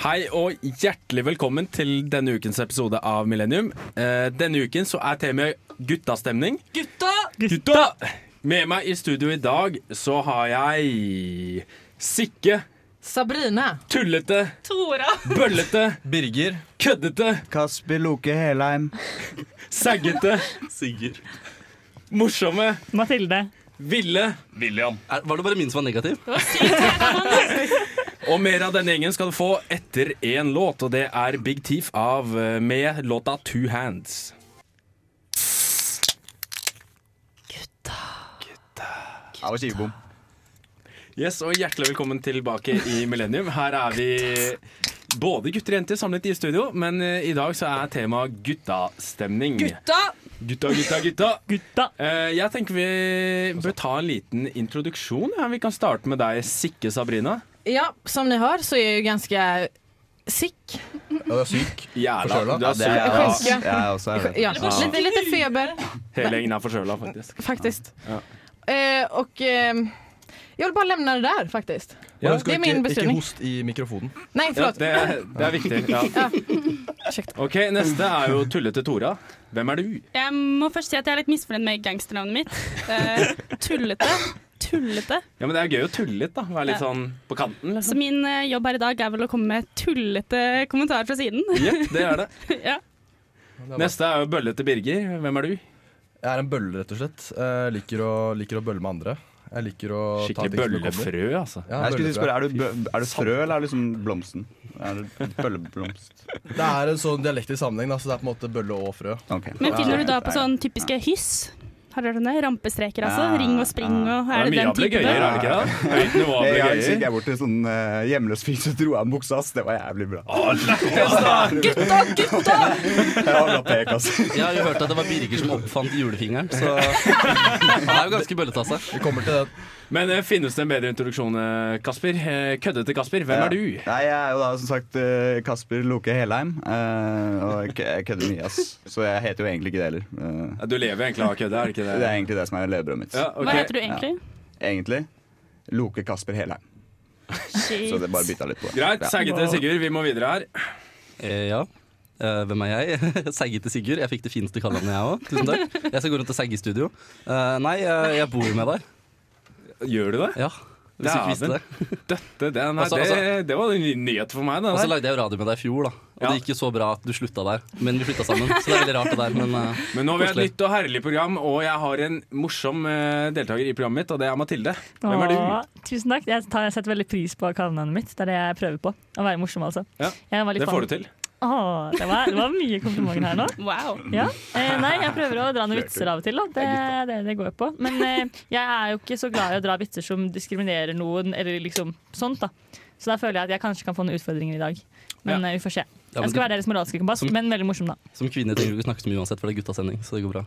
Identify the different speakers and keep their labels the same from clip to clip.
Speaker 1: Hei og hjertelig velkommen til denne ukens episode av Millennium. Eh, denne uken så er temaet guttastemning.
Speaker 2: Gutta!
Speaker 1: Gutta! Med meg i studio i dag så har jeg Sikke,
Speaker 2: Sabrina.
Speaker 1: tullete,
Speaker 2: Tora.
Speaker 1: bøllete,
Speaker 3: Birger.
Speaker 1: køddete,
Speaker 4: Kasper Loke Helheim.
Speaker 1: saggete,
Speaker 3: Sigurd.
Speaker 1: morsomme,
Speaker 5: Mathilde.
Speaker 1: ville.
Speaker 3: William. Er, var det bare min som var negativ?
Speaker 1: Og mer av denne gjengen skal du få etter én låt, og det er Big Thief av eh, med låta Two Hands.
Speaker 4: Det var skivebom.
Speaker 1: Yes, og Hjertelig velkommen tilbake i Millennium. Her er vi både gutter og jenter samlet i studio, men eh, i dag så er temaet guttastemning.
Speaker 2: Gutta!
Speaker 1: Gutta, gutta, gutta.
Speaker 5: Gutta.
Speaker 1: Eh, jeg tenker vi bør ta en liten introduksjon. Ja. Vi kan starte med deg, Sikke Sabrina.
Speaker 2: Ja, som ni hör så är jag ju ganska sick.
Speaker 4: Du er syk.
Speaker 1: Jævla,
Speaker 4: Forkjøla.
Speaker 1: du er
Speaker 4: jeg
Speaker 1: syk.
Speaker 2: jeg
Speaker 4: også.
Speaker 2: Sjuke.
Speaker 4: Jeg er også. Jeg vet.
Speaker 2: Ja, lite, lite feber
Speaker 1: Hele gjengen er forkjøla, faktisk.
Speaker 2: faktiskt.
Speaker 1: Ja.
Speaker 2: Eh, och eh, jag vill bara lämna det där faktiskt.
Speaker 1: Ja,
Speaker 2: Det er min bestilling.
Speaker 3: Ikke host i mikrofonen.
Speaker 2: Nej,
Speaker 1: Ja,
Speaker 2: förlåt.
Speaker 1: det, er- det er viktig. Ja.
Speaker 2: Ja.
Speaker 1: OK, neste er jo tullete Tora. Hvem er du?
Speaker 6: Jeg må først si at jeg er litt misfornøyd med gangsternavnet mitt. Eh, tullete. Tullete.
Speaker 1: Ja, men Det er gøy å tulle litt, da. Være litt sånn på kanten,
Speaker 6: Så
Speaker 1: liksom.
Speaker 6: min eh, jobb her i dag er vel å komme med tullete kommentarer fra siden.
Speaker 1: Jepp, det er det.
Speaker 6: ja.
Speaker 1: Neste er jo bøllete Birger. Hvem er du?
Speaker 3: Jeg er en bølle, rett og slett. Jeg liker å, liker å bølle med andre. Jeg liker å
Speaker 1: Skikkelig
Speaker 3: ta ting som det kommer.
Speaker 1: bøllefrø, altså.
Speaker 3: Ja,
Speaker 4: Jeg skulle til å
Speaker 3: bøllefrø.
Speaker 4: spørre, er du, bø- er du frø, eller er du liksom blomsten? Er du bølleblomst?
Speaker 3: Det er en sånn dialektisk sammenheng, da, så det er på en måte bølle og frø.
Speaker 4: Ok.
Speaker 6: Men finner du da på sånn typiske hyss? Har dere hørt om det? Rampestreker, altså.
Speaker 4: Ja,
Speaker 6: Ring og spring
Speaker 4: ja.
Speaker 6: og
Speaker 1: Det
Speaker 6: er
Speaker 1: er
Speaker 6: det
Speaker 1: mye
Speaker 6: den
Speaker 1: av det
Speaker 6: type?
Speaker 1: gøyer,
Speaker 6: da?
Speaker 1: er det ikke det? Høyt nivå av
Speaker 4: Jeg,
Speaker 1: det
Speaker 4: jeg, gikk
Speaker 1: gøyer.
Speaker 4: jeg bort til sånn eh, hjemløs fyr som dro av en buksa hans. Det var jævlig bra.
Speaker 2: Gutta, gutta!
Speaker 4: Det var bra pek, altså.
Speaker 7: Jeg har jo hørt at det var Birger som oppfant julefingeren, så han er jo ganske bøllete av seg.
Speaker 3: Vi kommer til det.
Speaker 1: Men eh, finnes det en bedre introduksjon, eh, Kasper? Eh, Køddete Kasper, hvem er du?
Speaker 4: Nei, Jeg er jo da som sagt eh, Kasper Loke Helheim. eh, Og jeg kø- jeg kødder mye, ass. Så jeg heter jo egentlig ikke det heller. Eh,
Speaker 1: Ja, Du lever egentlig av å kødde, er det ikke
Speaker 4: Det
Speaker 1: det?
Speaker 4: er egentlig det som er levebrødet mitt.
Speaker 1: Ja,
Speaker 6: Hva heter du
Speaker 4: Ja.
Speaker 6: egentlig?
Speaker 4: Egentlig Loke Kasper Helheim. Så det bare bytta litt på. det.
Speaker 1: Greit, saggete Sigurd, vi må videre her.
Speaker 7: Eh, ja. Eh, hvem er jeg? Seigete Sigurd. Jeg fikk det fineste kallenavnet, jeg òg. Tusen takk. Jeg skal gå rundt og segge i studio. Eh, nei, eh, jeg bor jo med deg.
Speaker 1: Gjør du det?
Speaker 7: Ja. Hvis du ikke visste det.
Speaker 1: Dette, det, nei,
Speaker 7: Altså,
Speaker 1: det, det var en ny- nyhet for meg. Det altså.
Speaker 7: Og så
Speaker 1: der.
Speaker 7: lagde jeg jo radio med deg i fjor, da. Og
Speaker 1: Ja.
Speaker 7: det gikk jo så bra at du slutta der. Men vi flytta sammen, så det er veldig rart det der. Men eh,
Speaker 1: Men nå har vi et
Speaker 7: koselig.
Speaker 1: nytt og herlig program, og jeg har en morsom eh, deltaker i programmet mitt, og det er Mathilde. Hvem er du?
Speaker 5: Åh, Tusen takk. Jeg, tar, jeg setter veldig pris på kallenavnet mitt. Det er det jeg prøver på. Å være morsom, altså.
Speaker 1: Ja,
Speaker 5: Jeg var litt
Speaker 1: Det
Speaker 5: fan-
Speaker 1: får du til.
Speaker 5: Åh, det, var, det var mye komplimenter her nå.
Speaker 6: Wow.
Speaker 5: Ja. Eh, nei, jeg prøver å dra noen vitser av og til. Da. Det, det, det går jeg på. Men eh, jeg er jo ikke så glad i å dra vitser som diskriminerer noen, eller liksom sånt. da. Så da føler jeg at jeg kanskje kan få noen utfordringer i dag. Men eh, vi får se.
Speaker 7: men
Speaker 5: Jeg skal
Speaker 7: du-
Speaker 5: være deres moralske kompass,
Speaker 7: Som-
Speaker 5: men veldig morsom, da.
Speaker 7: som kvinne trenger du ikke snakke så mye uansett, for det er guttasending, så det går bra.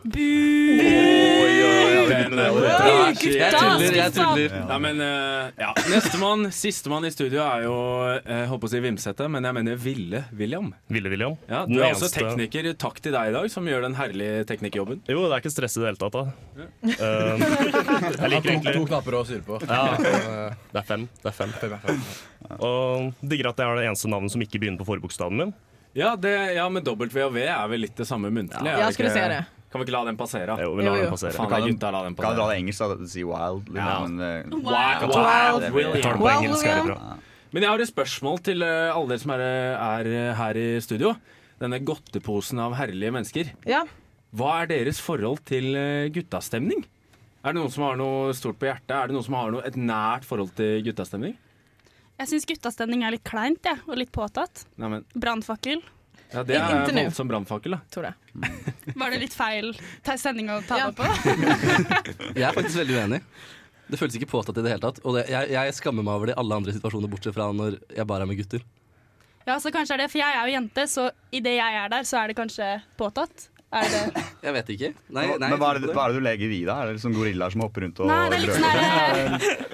Speaker 1: Den
Speaker 8: eh,
Speaker 1: er-
Speaker 6: Oi,
Speaker 1: Jeg
Speaker 6: gutta!
Speaker 1: tuller.
Speaker 7: Tuller, jeg tuller.
Speaker 1: Ja, men eh, ja. Nestemann, sistemann i studio er jo uh, Håper å si Vimsete, men jeg mener Ville William.
Speaker 9: Ville William.
Speaker 1: Ja, du
Speaker 9: Den
Speaker 1: er også
Speaker 9: eneste-
Speaker 1: tekniker. Takk til deg i dag, som gjør den herlige teknikerjobben.
Speaker 9: Jo, det er ikke stress i det hele tatt. da. Um, jeg liker
Speaker 3: To, to
Speaker 9: egentlig
Speaker 3: knapper å styre på.
Speaker 9: ja, Det er fem. Det er fem.
Speaker 3: Fem er fem.
Speaker 9: Og digger at jeg har det eneste navnet som ikke begynner på forbokstaven min.
Speaker 1: Ja, det, ja men W og V er vel litt det samme muntlig? er det
Speaker 2: Ja, jeg skulle
Speaker 1: ikke-
Speaker 2: si det.
Speaker 1: Kan vi ikke la den passere?
Speaker 9: Jo, vi lar
Speaker 2: Jo, jo.
Speaker 9: den passere.
Speaker 1: Faen,
Speaker 4: Kan
Speaker 1: da,
Speaker 4: du-
Speaker 1: gutta, la den
Speaker 4: Kan dra
Speaker 1: passere.
Speaker 4: det engelsk, da. Si wild. Liksom,
Speaker 1: Ja.
Speaker 4: men, eh,
Speaker 1: Wild,
Speaker 2: Wild
Speaker 9: Jeg tar
Speaker 1: William.
Speaker 9: det på
Speaker 2: Wow,
Speaker 9: engelsk
Speaker 2: William.
Speaker 9: herifra.
Speaker 1: Men jeg har et spørsmål til eh, alle dere som er, er eh, her i studio. Denne godteposen av herlige mennesker.
Speaker 2: Ja.
Speaker 1: Hva er deres forhold til eh, guttastemning? Er det noen som har noe stort på hjertet? Er det noen som har noe, et nært forhold til guttastemning?
Speaker 6: Jeg syns guttastemning er litt kleint, jeg. og litt påtatt.
Speaker 1: Nei, men,
Speaker 6: Brannfakkel.
Speaker 1: ja, det er
Speaker 2: Inntil nå.
Speaker 1: voldsom brannfakkel, da.
Speaker 2: Tore.
Speaker 6: Var det litt feil ta- sending å ta det
Speaker 2: Ja.
Speaker 6: opp på?
Speaker 7: Jeg er faktisk veldig uenig. Det føles ikke påtatt i det hele tatt. Og det, jeg, jeg skammer meg over det i alle andre situasjoner, bortsett fra når jeg bare er med gutter.
Speaker 6: Ja, så kanskje er det, for jeg er jo jente, så idet jeg er der, så er det kanskje påtatt. Er det det?
Speaker 7: Jeg vet ikke. Nei,
Speaker 4: men
Speaker 7: nei,
Speaker 4: hva er, det,
Speaker 7: jeg tror
Speaker 4: hva
Speaker 7: ikke
Speaker 4: er det du legger i da? Er det liksom gorillaer som hopper rundt og
Speaker 6: Nei, det er litt sånn her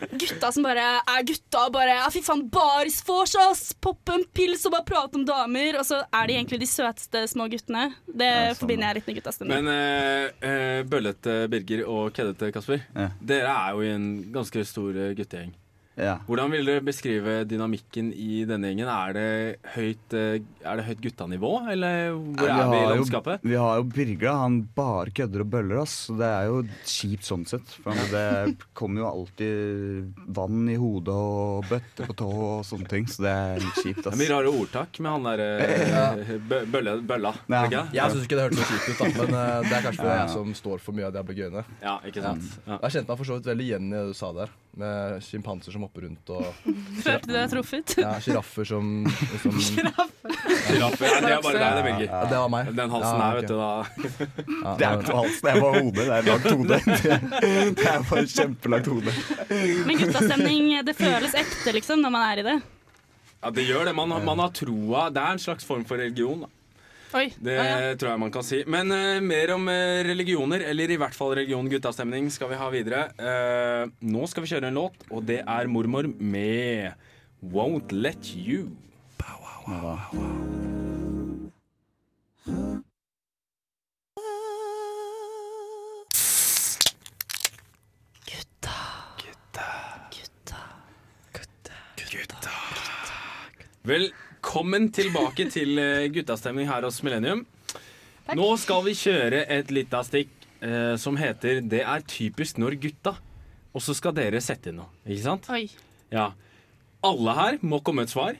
Speaker 6: eh, Gutta som bare er gutta og bare Ja, fy faen, baris vors, ass! Poppe en pils og bare prate om damer. Og så er de egentlig de søteste små guttene. Det
Speaker 4: Ja, sånn,
Speaker 6: forbinder jeg litt med guttastemning.
Speaker 1: Men eh, eh, bøllete Birger og køddete Kasper,
Speaker 4: Ja.
Speaker 1: dere er jo i en ganske stor eh, guttegjeng.
Speaker 4: Ja.
Speaker 1: Hvordan vil dere beskrive dynamikken i denne gjengen? Er det høyt, eh, er det høyt guttanivå, eller hvor er vi i
Speaker 4: har jo-
Speaker 1: landskapet?
Speaker 4: vi har jo Birger. Han bare kødder og bøller, ass. Så Det er jo kjipt sånn sett. For det kommer jo alltid vann i hodet og bøtter på tå og sånne ting. Så det er litt kjipt,
Speaker 1: Det er mye
Speaker 4: ass.
Speaker 1: rare ordtak med han derre bølla. bølla
Speaker 4: Ja.
Speaker 1: ikke det?
Speaker 3: Jeg syns ikke det hørtes så kjipt ut, da, men eh, det er kanskje fordi jeg som står for mye av det jeg blir gøyende.
Speaker 1: ja, ikke sant? Ja.
Speaker 3: Jeg kjente meg for så vidt veldig igjen i det du sa der, med sjimpanser som hopper rundt og
Speaker 6: Følte du deg truffet?
Speaker 3: ja, sjiraffer som, som ja,
Speaker 1: Giraffe, ja, det er bare deg, det, Birger.
Speaker 3: Det var meg.
Speaker 1: Den halsen her, vet du, da.
Speaker 3: du. Ja,
Speaker 4: Det er ikke halsen, det er bare hodet. Det er langt hode. Det er bare kjempelangt hode.
Speaker 6: Men guttastemning, det føles ekte liksom når man er i det.
Speaker 1: Ja, det gjør det. Man, man har troa. Det er en slags form for religion. Da.
Speaker 2: Oi.
Speaker 1: Det
Speaker 2: Ja, ja.
Speaker 1: tror jeg man kan si. Men eh, mer om eh, religioner, eller i hvert fall religion-guttastemning, skal vi ha videre. Eh, nå skal vi kjøre en låt, og det er Mormor med Won't Let You. Velkommen tilbake til eh, guttastemning her hos Millennium. Nå skal vi kjøre et lite stikk eh, som heter 'Det er typisk når gutta'. Og så skal dere sette inn noe, ikke sant?
Speaker 2: Oi.
Speaker 1: Ja. Alle her må komme et svar,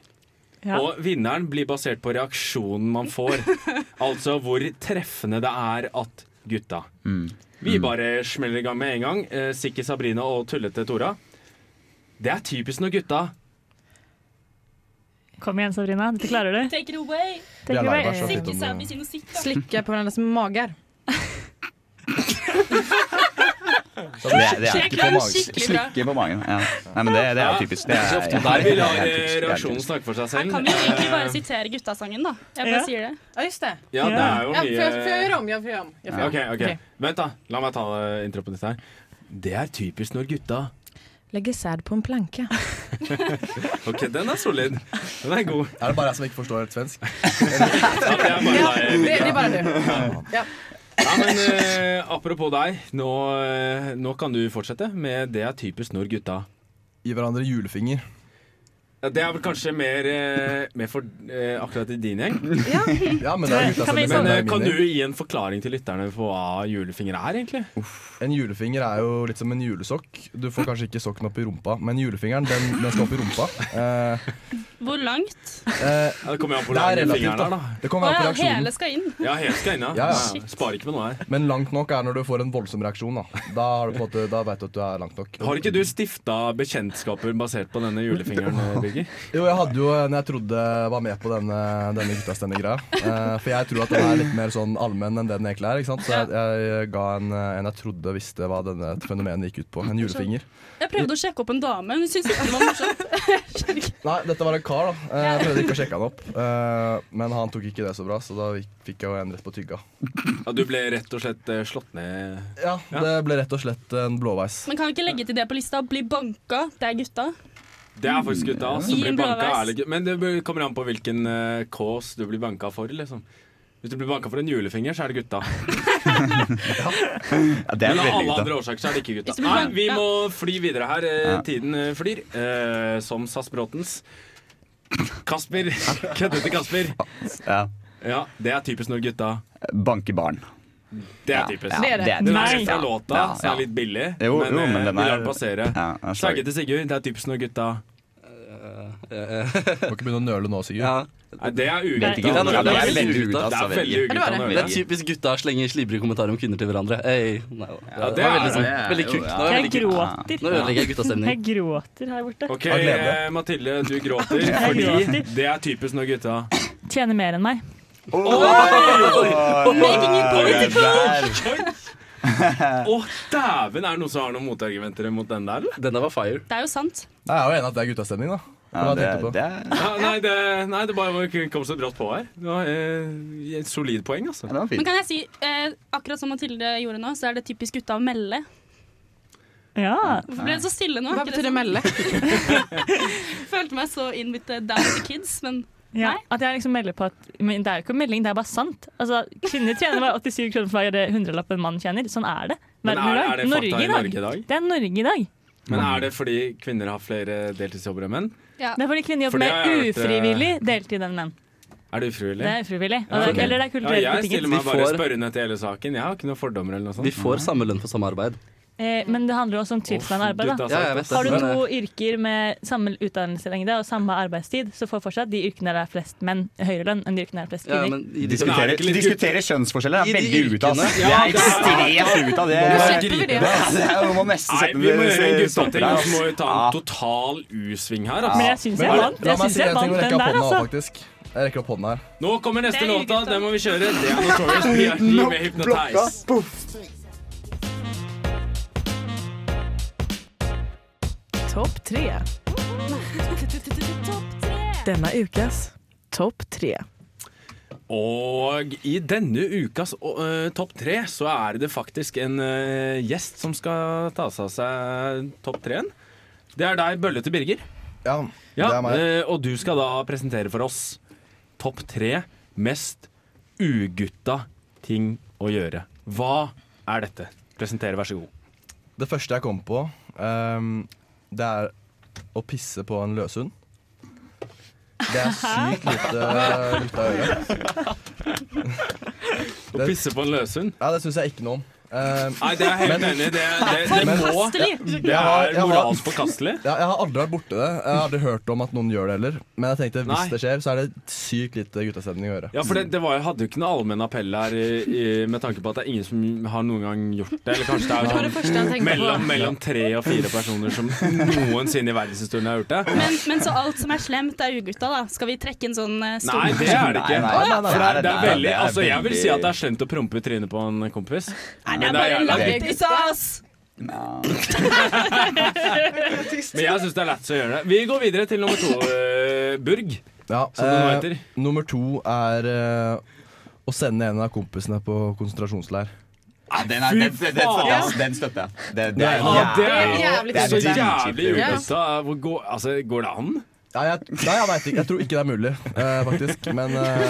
Speaker 5: Ja.
Speaker 1: og vinneren blir basert på reaksjonen man får. altså hvor treffende det er at gutta. Vi bare smeller i gang med en gang. Eh, Sikki Sabrina og tullete Tora. Det er typisk når gutta
Speaker 5: Kom igjen, Sabrina. Dette klarer du.
Speaker 6: Take it away.
Speaker 5: Take it
Speaker 3: lærer
Speaker 5: away.
Speaker 3: meg så fint
Speaker 6: Ikke
Speaker 3: om,
Speaker 6: savvy
Speaker 3: eh,
Speaker 6: sin musikk, da.
Speaker 2: Slikker på hverandres mager.
Speaker 3: så det,
Speaker 4: det
Speaker 2: Jeg klarer det skikkelig bra.
Speaker 4: Slikke på magen. Ja. Nei, men det, det er jo typisk. Det er,
Speaker 7: Det er så ofte
Speaker 1: Nei, vi lar
Speaker 4: det er typisk,
Speaker 1: eh,
Speaker 4: det er
Speaker 1: reaksjonen
Speaker 4: typisk.
Speaker 1: snakke for
Speaker 6: Her
Speaker 1: seg selv.
Speaker 6: kan vi jo egentlig bare sitere guttasangen, da. Jeg bare
Speaker 5: Ja.
Speaker 6: sier det.
Speaker 2: Ja, just det.
Speaker 1: Ja, det er jo
Speaker 2: Ja, får jeg- får jeg
Speaker 1: mye
Speaker 2: gjøre om? Ja, får jeg gjøre om. Ja, får jeg
Speaker 1: OK, ok.
Speaker 2: Ok.
Speaker 1: Vent, da. La meg ta eh, introen på dette her. Det er typisk når gutta
Speaker 2: gjøre om. Legge sæd på en planke.
Speaker 1: OK, den er solid. Den er god.
Speaker 3: Er det bare jeg som ikke forstår helt svensk?
Speaker 1: Ja, det er bare
Speaker 2: Ja,
Speaker 1: deg.
Speaker 2: det, det er bare du.
Speaker 1: Ja, men eh, apropos deg. Nå, eh, nå kan du fortsette med 'Det er typisk når gutta'.
Speaker 3: Gi hverandre julefinger.
Speaker 1: Ja, det er vel kanskje mer, eh, mer for eh, akkurat i din gjeng.
Speaker 3: Ja, men det er
Speaker 5: Kan
Speaker 3: gutta som
Speaker 5: vi
Speaker 1: Men
Speaker 5: sånn-
Speaker 1: eh,
Speaker 3: er
Speaker 1: kan
Speaker 3: min
Speaker 1: du
Speaker 3: gjeng.
Speaker 1: gi en forklaring til lytterne på hva julefinger er, egentlig?
Speaker 3: En julefinger er jo litt som en julesokk. Du får kanskje ikke sokken opp i rumpa, men julefingeren, den, den skal opp i rumpa. Eh,
Speaker 6: Hvor langt?
Speaker 3: eh,
Speaker 1: Ja, det kommer jo an på
Speaker 3: det
Speaker 1: hvor
Speaker 3: er
Speaker 1: lang
Speaker 3: relativt,
Speaker 1: fingeren er,
Speaker 3: da.
Speaker 1: da.
Speaker 3: Det kommer
Speaker 6: Å
Speaker 3: an på
Speaker 6: ja,
Speaker 3: reaksjonen.
Speaker 6: hele skal inn.
Speaker 1: Ja, helt skal inne.
Speaker 3: Ja, ja.
Speaker 1: Sparer ikke på noe her.
Speaker 3: Men langt nok er når du får en voldsom reaksjon. Da Da, har du på en måte, da vet du at du er langt nok.
Speaker 1: Har ikke du stifta bekjentskaper basert på denne julefingeren, Birger?
Speaker 3: Jo, jeg hadde jo en jeg trodde var med på denne, denne guttastemninggreia. Eh, for jeg tror at den er litt mer sånn allmenn enn det den egentlig er. Ikke sant? Så jeg, jeg ga en, eh, en jeg trodde visste hva denne fenomenet gikk ut på. En julefinger.
Speaker 6: Jeg prøvde å sjekke opp en dame, hun syntes ikke det var morsomt.
Speaker 3: Nei, dette var en kar, da. Eh, Jeg prøvde ikke å sjekke han opp. eh, Men han tok ikke det så bra, så da gikk- fikk jeg jo en rett på tygga.
Speaker 1: Ja, du ble rett og slett eh, slått ned.
Speaker 3: Ja, det ble rett og slett en blåveis.
Speaker 6: Men kan vi ikke legge til det på lista? Bli banka, det er gutta.
Speaker 1: Det er faktisk gutta ass, som
Speaker 6: Gi en
Speaker 1: blir banka.
Speaker 6: blåveis.
Speaker 1: ærlig. Men det bør- kommer an på hvilken eh, kås du blir banka for, liksom. Hvis du blir banka for en julefinger, så er det gutta.
Speaker 4: Ja, det
Speaker 1: Men
Speaker 4: er
Speaker 1: av
Speaker 4: veldig
Speaker 1: alle
Speaker 4: gutta.
Speaker 1: andre årsaker så er det ikke gutta.
Speaker 6: Hvis du blir
Speaker 1: Nei,
Speaker 6: banka.
Speaker 1: vi må fly videre her. Eh,
Speaker 4: Ja.
Speaker 1: Tiden eh, flyr. Eh, som SAS Bråtens. Kasper. Køddete Kasper.
Speaker 4: Ja.
Speaker 1: Ja, det er typisk når gutta
Speaker 4: Banke barn.
Speaker 1: Det
Speaker 4: Ja,
Speaker 1: er typisk.
Speaker 4: ja,
Speaker 2: Det er det.
Speaker 1: Den er
Speaker 5: Nei.
Speaker 1: helt fra låta,
Speaker 4: Ja,
Speaker 1: som
Speaker 4: ja.
Speaker 1: er litt billig.
Speaker 4: Jo, jo,
Speaker 1: eh,
Speaker 4: men den
Speaker 1: vi lar
Speaker 4: er-
Speaker 1: den passere.
Speaker 4: Ja, jeg er sorry.
Speaker 1: Slaggete Sigurd, det er typisk når gutta
Speaker 3: Må ikke begynne å nøle nå, Sigurd.
Speaker 7: Ja.
Speaker 1: Nei, det er
Speaker 4: Vet ikke.
Speaker 1: ugutta.
Speaker 7: Det er-
Speaker 4: Det er
Speaker 7: veldig
Speaker 4: veldig
Speaker 7: ugutta.
Speaker 4: ugutta.
Speaker 1: Det
Speaker 4: altså,
Speaker 1: er veldig
Speaker 4: veldig.
Speaker 2: Ja, det var
Speaker 1: ugutta
Speaker 2: det.
Speaker 1: Norge.
Speaker 7: Det er typisk gutta slenger slibrige kommentarer om kvinner til hverandre. Hey, nei,
Speaker 1: Ja, det
Speaker 7: det var
Speaker 1: er
Speaker 7: veldig, sånn,
Speaker 4: det.
Speaker 7: veldig kult. Det var
Speaker 5: Jeg
Speaker 7: veldig kult.
Speaker 5: gråter.
Speaker 7: Nå ødelegger jeg
Speaker 5: Jeg
Speaker 7: guttastemning.
Speaker 5: gråter her borte.
Speaker 1: Ok,
Speaker 3: Av glede.
Speaker 1: eh, Mathilde, du gråter
Speaker 5: Jeg
Speaker 1: fordi
Speaker 5: gråter.
Speaker 1: det er typisk når gutta
Speaker 5: Tjener mer enn meg.
Speaker 6: Making it political!
Speaker 1: Å, dæven! Er det noen som har noen motargumenter mot den der, eller?
Speaker 7: Den der var fire.
Speaker 6: Det er jo sant.
Speaker 3: Nei, Jeg er jo enig at det er guttastemning, da.
Speaker 4: Ja,
Speaker 3: Hva
Speaker 4: det,
Speaker 3: tenkte du på?
Speaker 4: det er
Speaker 1: Ja, nei, det, nei, det bare kom så brått på her. Det var eh, et solid poeng, altså.
Speaker 4: Ja, det var
Speaker 6: Men
Speaker 4: fint.
Speaker 6: kan jeg si, eh, akkurat som Mathilde gjorde nå, så er det typisk gutta å melde.
Speaker 5: Ja.
Speaker 6: Hvorfor ble det så stille nå?
Speaker 2: Hva
Speaker 6: Er ikke
Speaker 2: betyr det
Speaker 6: sånn?
Speaker 2: melde?
Speaker 6: Jeg følte meg så in with the down with the kids, men
Speaker 5: Ja,
Speaker 6: Nei.
Speaker 5: at jeg liksom melder på at Men det er jo ikke melding, det er bare sant. Altså, Kvinner tjener bare 87 kroner for hver hundrelapp en mann tjener. Sånn er det.
Speaker 1: Men
Speaker 5: Verden i
Speaker 1: er,
Speaker 5: dag.
Speaker 1: er det fakta i Norge i dag?
Speaker 5: Det er Norge i dag.
Speaker 1: Men er det fordi kvinner har flere deltidsjobber enn menn?
Speaker 6: Ja.
Speaker 5: Det er fordi kvinner
Speaker 1: For
Speaker 5: jobber
Speaker 1: det har
Speaker 5: mer
Speaker 1: jeg hørt, eh,
Speaker 5: ufrivillig deltid enn menn.
Speaker 1: Er det ufrivillig?
Speaker 5: Det er ufrivillig. Og
Speaker 1: Ja,
Speaker 5: det,
Speaker 1: ok.
Speaker 5: Eller det er kulturelt
Speaker 1: ja, jeg
Speaker 5: betinget.
Speaker 1: stiller meg
Speaker 7: Vi
Speaker 1: bare
Speaker 7: får-
Speaker 1: spørrende til hele saken. Jeg har ikke noen fordommer eller noe sånt.
Speaker 7: Vi
Speaker 8: Mm.
Speaker 7: får samme lønn for samme arbeid.
Speaker 5: Eh, Men det handler jo også om tilsvarende arbeid. Da.
Speaker 1: Gutta,
Speaker 7: Ja, jeg vet det.
Speaker 5: Har du
Speaker 7: Men,
Speaker 5: to yrker med samme utdannelselengde og samme arbeidstid, så får fortsatt de yrkene der det er flest menn, høyere lønn enn de yrkene der det er flest
Speaker 7: ja,
Speaker 5: kvinner.
Speaker 7: men i de,
Speaker 1: Diskutere-
Speaker 4: Diskutere,
Speaker 1: det ikke litt
Speaker 4: diskutere kjønnsforskjeller
Speaker 7: I
Speaker 4: er
Speaker 7: de
Speaker 4: veldig ute, altså.
Speaker 7: yrkene.
Speaker 4: Det er ekstremt ute av det.
Speaker 2: Nå
Speaker 4: Det
Speaker 2: slipper vi det.
Speaker 4: er jo må nesten
Speaker 1: Nei,
Speaker 4: sette
Speaker 1: vi må gjøre en
Speaker 4: en
Speaker 1: gutteting,
Speaker 4: stopper her,
Speaker 1: og så må vi ta en
Speaker 4: Ja.
Speaker 1: total U-sving her.
Speaker 5: Men
Speaker 1: Altså.
Speaker 5: jeg syns
Speaker 3: Men
Speaker 5: jeg
Speaker 3: la-
Speaker 5: vant, jeg
Speaker 3: la meg
Speaker 5: synes
Speaker 3: si
Speaker 5: jeg
Speaker 3: en
Speaker 5: vant
Speaker 3: ting når
Speaker 5: den
Speaker 3: jeg rekker opp
Speaker 5: der,
Speaker 3: hånda,
Speaker 5: altså.
Speaker 3: faktisk. Jeg rekker opp hånda her.
Speaker 1: Nå kommer neste
Speaker 6: Det er
Speaker 1: låta,
Speaker 6: gutta.
Speaker 1: den må vi kjøre. Det er Notorious PRT med
Speaker 4: Blokka,
Speaker 1: Hypnotize.
Speaker 4: poff.
Speaker 10: Topp tre. Denne ukas topp tre.
Speaker 1: Og i denne ukas øh, topp tre så er det faktisk en øh, gjest som skal ta seg av seg topp treen. Det er deg, Bøllete Birger.
Speaker 3: Ja,
Speaker 1: Ja,
Speaker 3: det er meg.
Speaker 1: øh, og du skal da presentere for oss topp tre mest ugutta ting å gjøre. Hva er dette? Presentere, vær så god.
Speaker 3: Det første jeg kom på, ehm, det er å pisse på en løshund. Det er sykt lite lukta å gjøre.
Speaker 1: Å
Speaker 3: Det-
Speaker 1: pisse på en løshund?
Speaker 3: Ja, det syns jeg ikke noe om. Ehm,
Speaker 1: Nei, det er jeg helt enig i. Det, det, det,
Speaker 3: Men-
Speaker 1: må Det
Speaker 3: Jeg har-
Speaker 1: er
Speaker 3: jeg har-
Speaker 1: moralsk forkastelig.
Speaker 3: ja, jeg har aldri vært borti det. Jeg har aldri hørt om at noen gjør det heller. Men jeg tenkte hvis
Speaker 1: Nei.
Speaker 3: det skjer, så er det sykt lite guttastemning å gjøre.
Speaker 1: Ja, for det, det var, jeg hadde jo ikke noe allmenn appell her i, i, med tanke på at det er ingen som har noen gang gjort det. Eller kanskje det
Speaker 2: Det var
Speaker 1: er
Speaker 2: det første jeg
Speaker 1: sånn
Speaker 2: tenkte
Speaker 1: mellom, mellom tre og fire personer som noensinne i verdenshistorien har gjort det.
Speaker 6: Men, men så alt som er slemt, er ugutta, da? Skal vi trekke en sånn eh, stor
Speaker 1: Nei, det er
Speaker 4: Nei,
Speaker 1: det
Speaker 4: nei,
Speaker 1: ikke.
Speaker 4: nei, nei, nei,
Speaker 1: Det er
Speaker 4: nei,
Speaker 1: veldig,
Speaker 4: det er
Speaker 1: altså Jeg vil si at det
Speaker 4: veldig-
Speaker 1: er slemt å prompe i trynet på en kompis.
Speaker 6: Nei,
Speaker 1: Men det er jævla
Speaker 6: bare
Speaker 1: gøy.
Speaker 6: lættis, ass!
Speaker 1: Men jeg syns det er lett å gjøre det. Vi går videre til nummer to, eh, Burg.
Speaker 3: Ja,
Speaker 1: Som det nå
Speaker 3: eh,
Speaker 1: heter.
Speaker 3: nummer to er eh, å sende en av kompisene på konsentrasjonsleir.
Speaker 4: Ja, den, er, den, den, den støtter jeg. ass. Den støtter jeg. Det, det er
Speaker 1: Ja, det
Speaker 2: Det
Speaker 1: er
Speaker 2: er jævlig
Speaker 1: det er så
Speaker 4: dritkjipt.
Speaker 1: jævlig
Speaker 2: Ja.
Speaker 1: ugutta. Hvor går- Altså, går det an?
Speaker 3: Nei, jeg, nei, jeg vet ikke. Jeg tror ikke det er mulig, eh, faktisk. Men eh,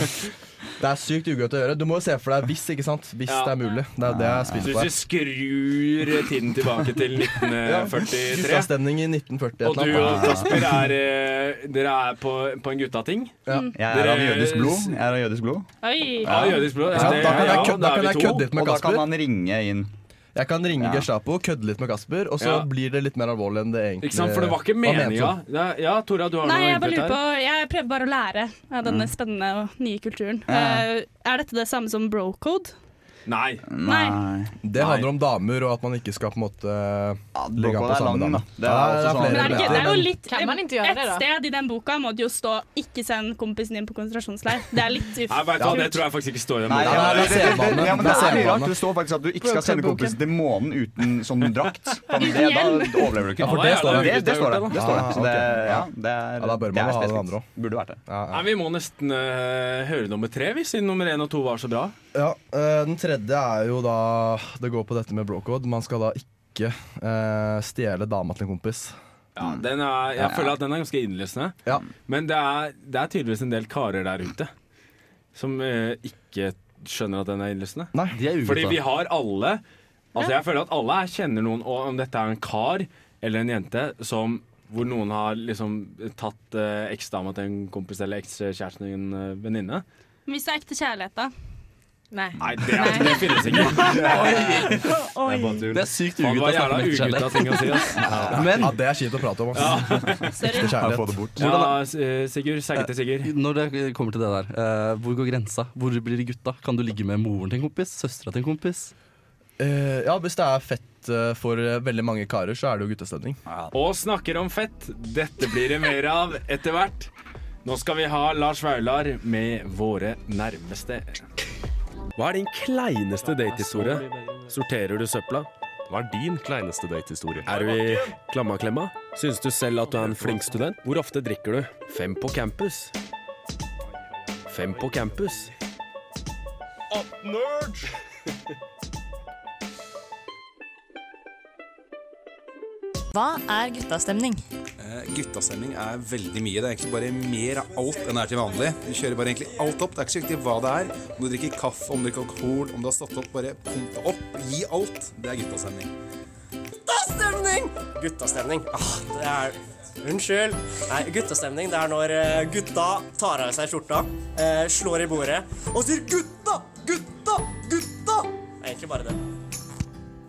Speaker 3: det er sykt ugøy å gjøre. Du må jo se for deg hvis, ikke sant? Hvis
Speaker 1: Ja.
Speaker 3: det er mulig. Det er jo det jeg
Speaker 1: Så
Speaker 3: spiller på
Speaker 1: hvis vi
Speaker 3: her.
Speaker 1: skrur tiden tilbake til 1943
Speaker 3: Guttastemning i 1940
Speaker 1: Og
Speaker 3: et
Speaker 1: du
Speaker 3: eller
Speaker 1: og
Speaker 3: annet.
Speaker 1: Kasper er eh, Dere er på, på en guttating.
Speaker 3: Ja.
Speaker 4: Jeg er av
Speaker 1: Dere-
Speaker 4: jødisk blod. Jeg er av jødisk blod.
Speaker 6: Oi.
Speaker 1: Ja, jødisk blod.
Speaker 3: Ja,
Speaker 1: det-
Speaker 3: da kan
Speaker 1: ja,
Speaker 3: jeg,
Speaker 1: ja,
Speaker 3: kød, da
Speaker 1: er
Speaker 3: kan
Speaker 1: vi
Speaker 3: jeg
Speaker 1: to.
Speaker 3: kødde litt med
Speaker 4: Og da kan
Speaker 3: Kasper.
Speaker 4: man ringe inn.
Speaker 3: Jeg kan ringe
Speaker 4: Ja.
Speaker 3: Gestapo, kødde litt med Kasper, og så
Speaker 1: Ja.
Speaker 3: blir det litt mer alvorlig enn det egentlig
Speaker 1: Ikke sant, For det var ikke
Speaker 3: ment
Speaker 1: meninga.
Speaker 3: som.
Speaker 1: Ja, ja, Tora, du har
Speaker 6: Nei,
Speaker 1: noe
Speaker 6: jeg bare lurer
Speaker 1: input
Speaker 6: på
Speaker 1: her. Mm.
Speaker 6: Jeg prøver bare å lære av denne spennende og nye kulturen.
Speaker 4: Ja.
Speaker 6: Eh, er dette det samme som brocode?
Speaker 1: Nei.
Speaker 6: Nei.
Speaker 3: Det handler om damer, og at man ikke skal på en måte
Speaker 4: Ja,
Speaker 3: Ligge
Speaker 4: boka
Speaker 3: på
Speaker 4: er
Speaker 3: samme
Speaker 4: lang, da.
Speaker 3: dame.
Speaker 4: Det er
Speaker 3: Ja, det er
Speaker 4: også
Speaker 3: flere
Speaker 6: Men er det, ikke, det er jo
Speaker 3: Men
Speaker 6: litt
Speaker 2: Kan man ikke gjøre det,
Speaker 6: Et
Speaker 2: da?
Speaker 6: sted i den boka må det jo stå 'ikke send kompisen din på konsentrasjonsleir'. Det er litt uff.
Speaker 1: Nei, vet du hva, Det tror jeg faktisk ikke står i den altså,
Speaker 4: Nei,
Speaker 1: boka.
Speaker 4: ja,
Speaker 3: det er
Speaker 4: det, det, det,
Speaker 3: selvbane.
Speaker 4: ja, men
Speaker 3: Det
Speaker 4: det
Speaker 3: er
Speaker 4: er
Speaker 3: selvbane.
Speaker 4: rart. Det står faktisk at du ikke skal sende kompisen til månen uten sånn drakt. For det, da overlever du ikke.
Speaker 1: Ja, for det står det.
Speaker 4: det, det står det. Det står det.
Speaker 3: Ah,
Speaker 4: Så det,
Speaker 3: ok.
Speaker 4: ja, det er,
Speaker 3: Ja, da bør man
Speaker 4: det er
Speaker 3: ha den
Speaker 4: spesifikt.
Speaker 3: andre også.
Speaker 4: Burde vært det.
Speaker 3: ja, ja.
Speaker 1: Nei, Vi må nesten eh, høre nummer tre, vi, siden nummer én og to var så bra.
Speaker 3: Ja, eh, Den tredje er jo da Det går på dette med brocode. Man skal da ikke eh, stjele dama til en kompis.
Speaker 1: Ja, Mm. den er, jeg føler at den er ganske innlysende.
Speaker 3: Ja.
Speaker 1: Men det er, det er tydeligvis en del karer der ute som eh, ikke skjønner at den er innlysende.
Speaker 3: Nei.
Speaker 7: de er
Speaker 1: Fordi vi
Speaker 7: ugutta.
Speaker 1: har alle Altså jeg føler at alle her kjenner noen Og om dette er en kar eller en jente som, Hvor noen har liksom Tatt eh, eksdama til en kompis Eller ekskjæresten til en eh, venninne
Speaker 6: Men Hvis det er ekte kjærlighet, da.
Speaker 2: Nei.
Speaker 1: Nei, det, er, det finnes ikke
Speaker 7: Det er sykt
Speaker 1: Faen, Det
Speaker 7: ugutta.
Speaker 1: var jævla
Speaker 7: snakker om forskjellig.
Speaker 1: ugutta ting å si ass.
Speaker 7: Men
Speaker 3: Ja, Det er kjipt å prate om. ass.
Speaker 6: Sorry.
Speaker 3: Ekte
Speaker 4: Ja, få
Speaker 3: kjærlighet.
Speaker 4: det bort.
Speaker 1: Ja, S- eh, Sigurd, segge til Sigurd
Speaker 7: Når det kommer til det der, eh, hvor går grensa? Hvor blir det gutta? Kan du ligge med moren til en kompis? Søstera til en kompis?
Speaker 3: Eh, ja, Hvis det er fett eh, for eh, veldig mange karer, så er det jo guttestemning.
Speaker 1: Og snakker om fett Dette blir det mer av etter hvert Nå skal vi ha Lars Vaular Med våre nærmeste Hva er din kleineste datehistorie? Sorterer du søpla?
Speaker 9: Hva er din kleineste datehistorie?
Speaker 1: Er du i klammaklemma? Syns du selv at du er en flink student? Hvor ofte drikker du? Fem på campus. Fem på campus.
Speaker 5: Hva er guttastemning?
Speaker 11: Guttastemning er veldig mye. Det er egentlig bare mer av alt enn det er til vanlig. Du kjører bare egentlig alt opp. Det er ikke så viktig hva det er. Om du drikker kaffe, om du drikker alkohol, om du har stått opp, bare pump det opp. Gi alt. Det er guttastemning.
Speaker 12: Guttastemning! Guttastemning. Ah, det er Unnskyld. Nei, guttastemning det er når eh, gutta tar av seg skjorta, eh, slår i bordet og sier 'gutta, gutta, gutta'. Det er egentlig bare det.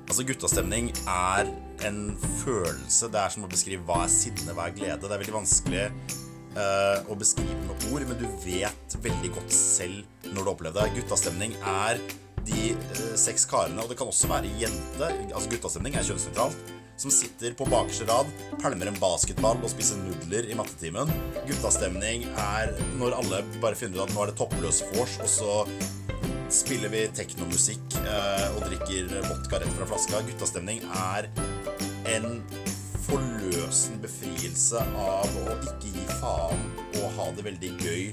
Speaker 13: Altså Guttastemning er en følelse. Det er som å beskrive hva er sinne, hva er glede. Det er veldig vanskelig eh, å beskrive med ord, men du vet veldig godt selv når du opplever det. Guttastemning er de eh, seks karene, og det kan også være jente. Altså Guttastemning er kjønnsnøytralt. Som sitter på bakerste rad, pælmer en basketball og spiser nudler i mattetimen. Guttastemning er når alle bare finner ut at nå er det toppløs vors, og så spiller vi teknomusikk eh, og drikker vodka rett fra flaska. Guttastemning er en forløsende befrielse av å ikke gi faen og ha det veldig gøy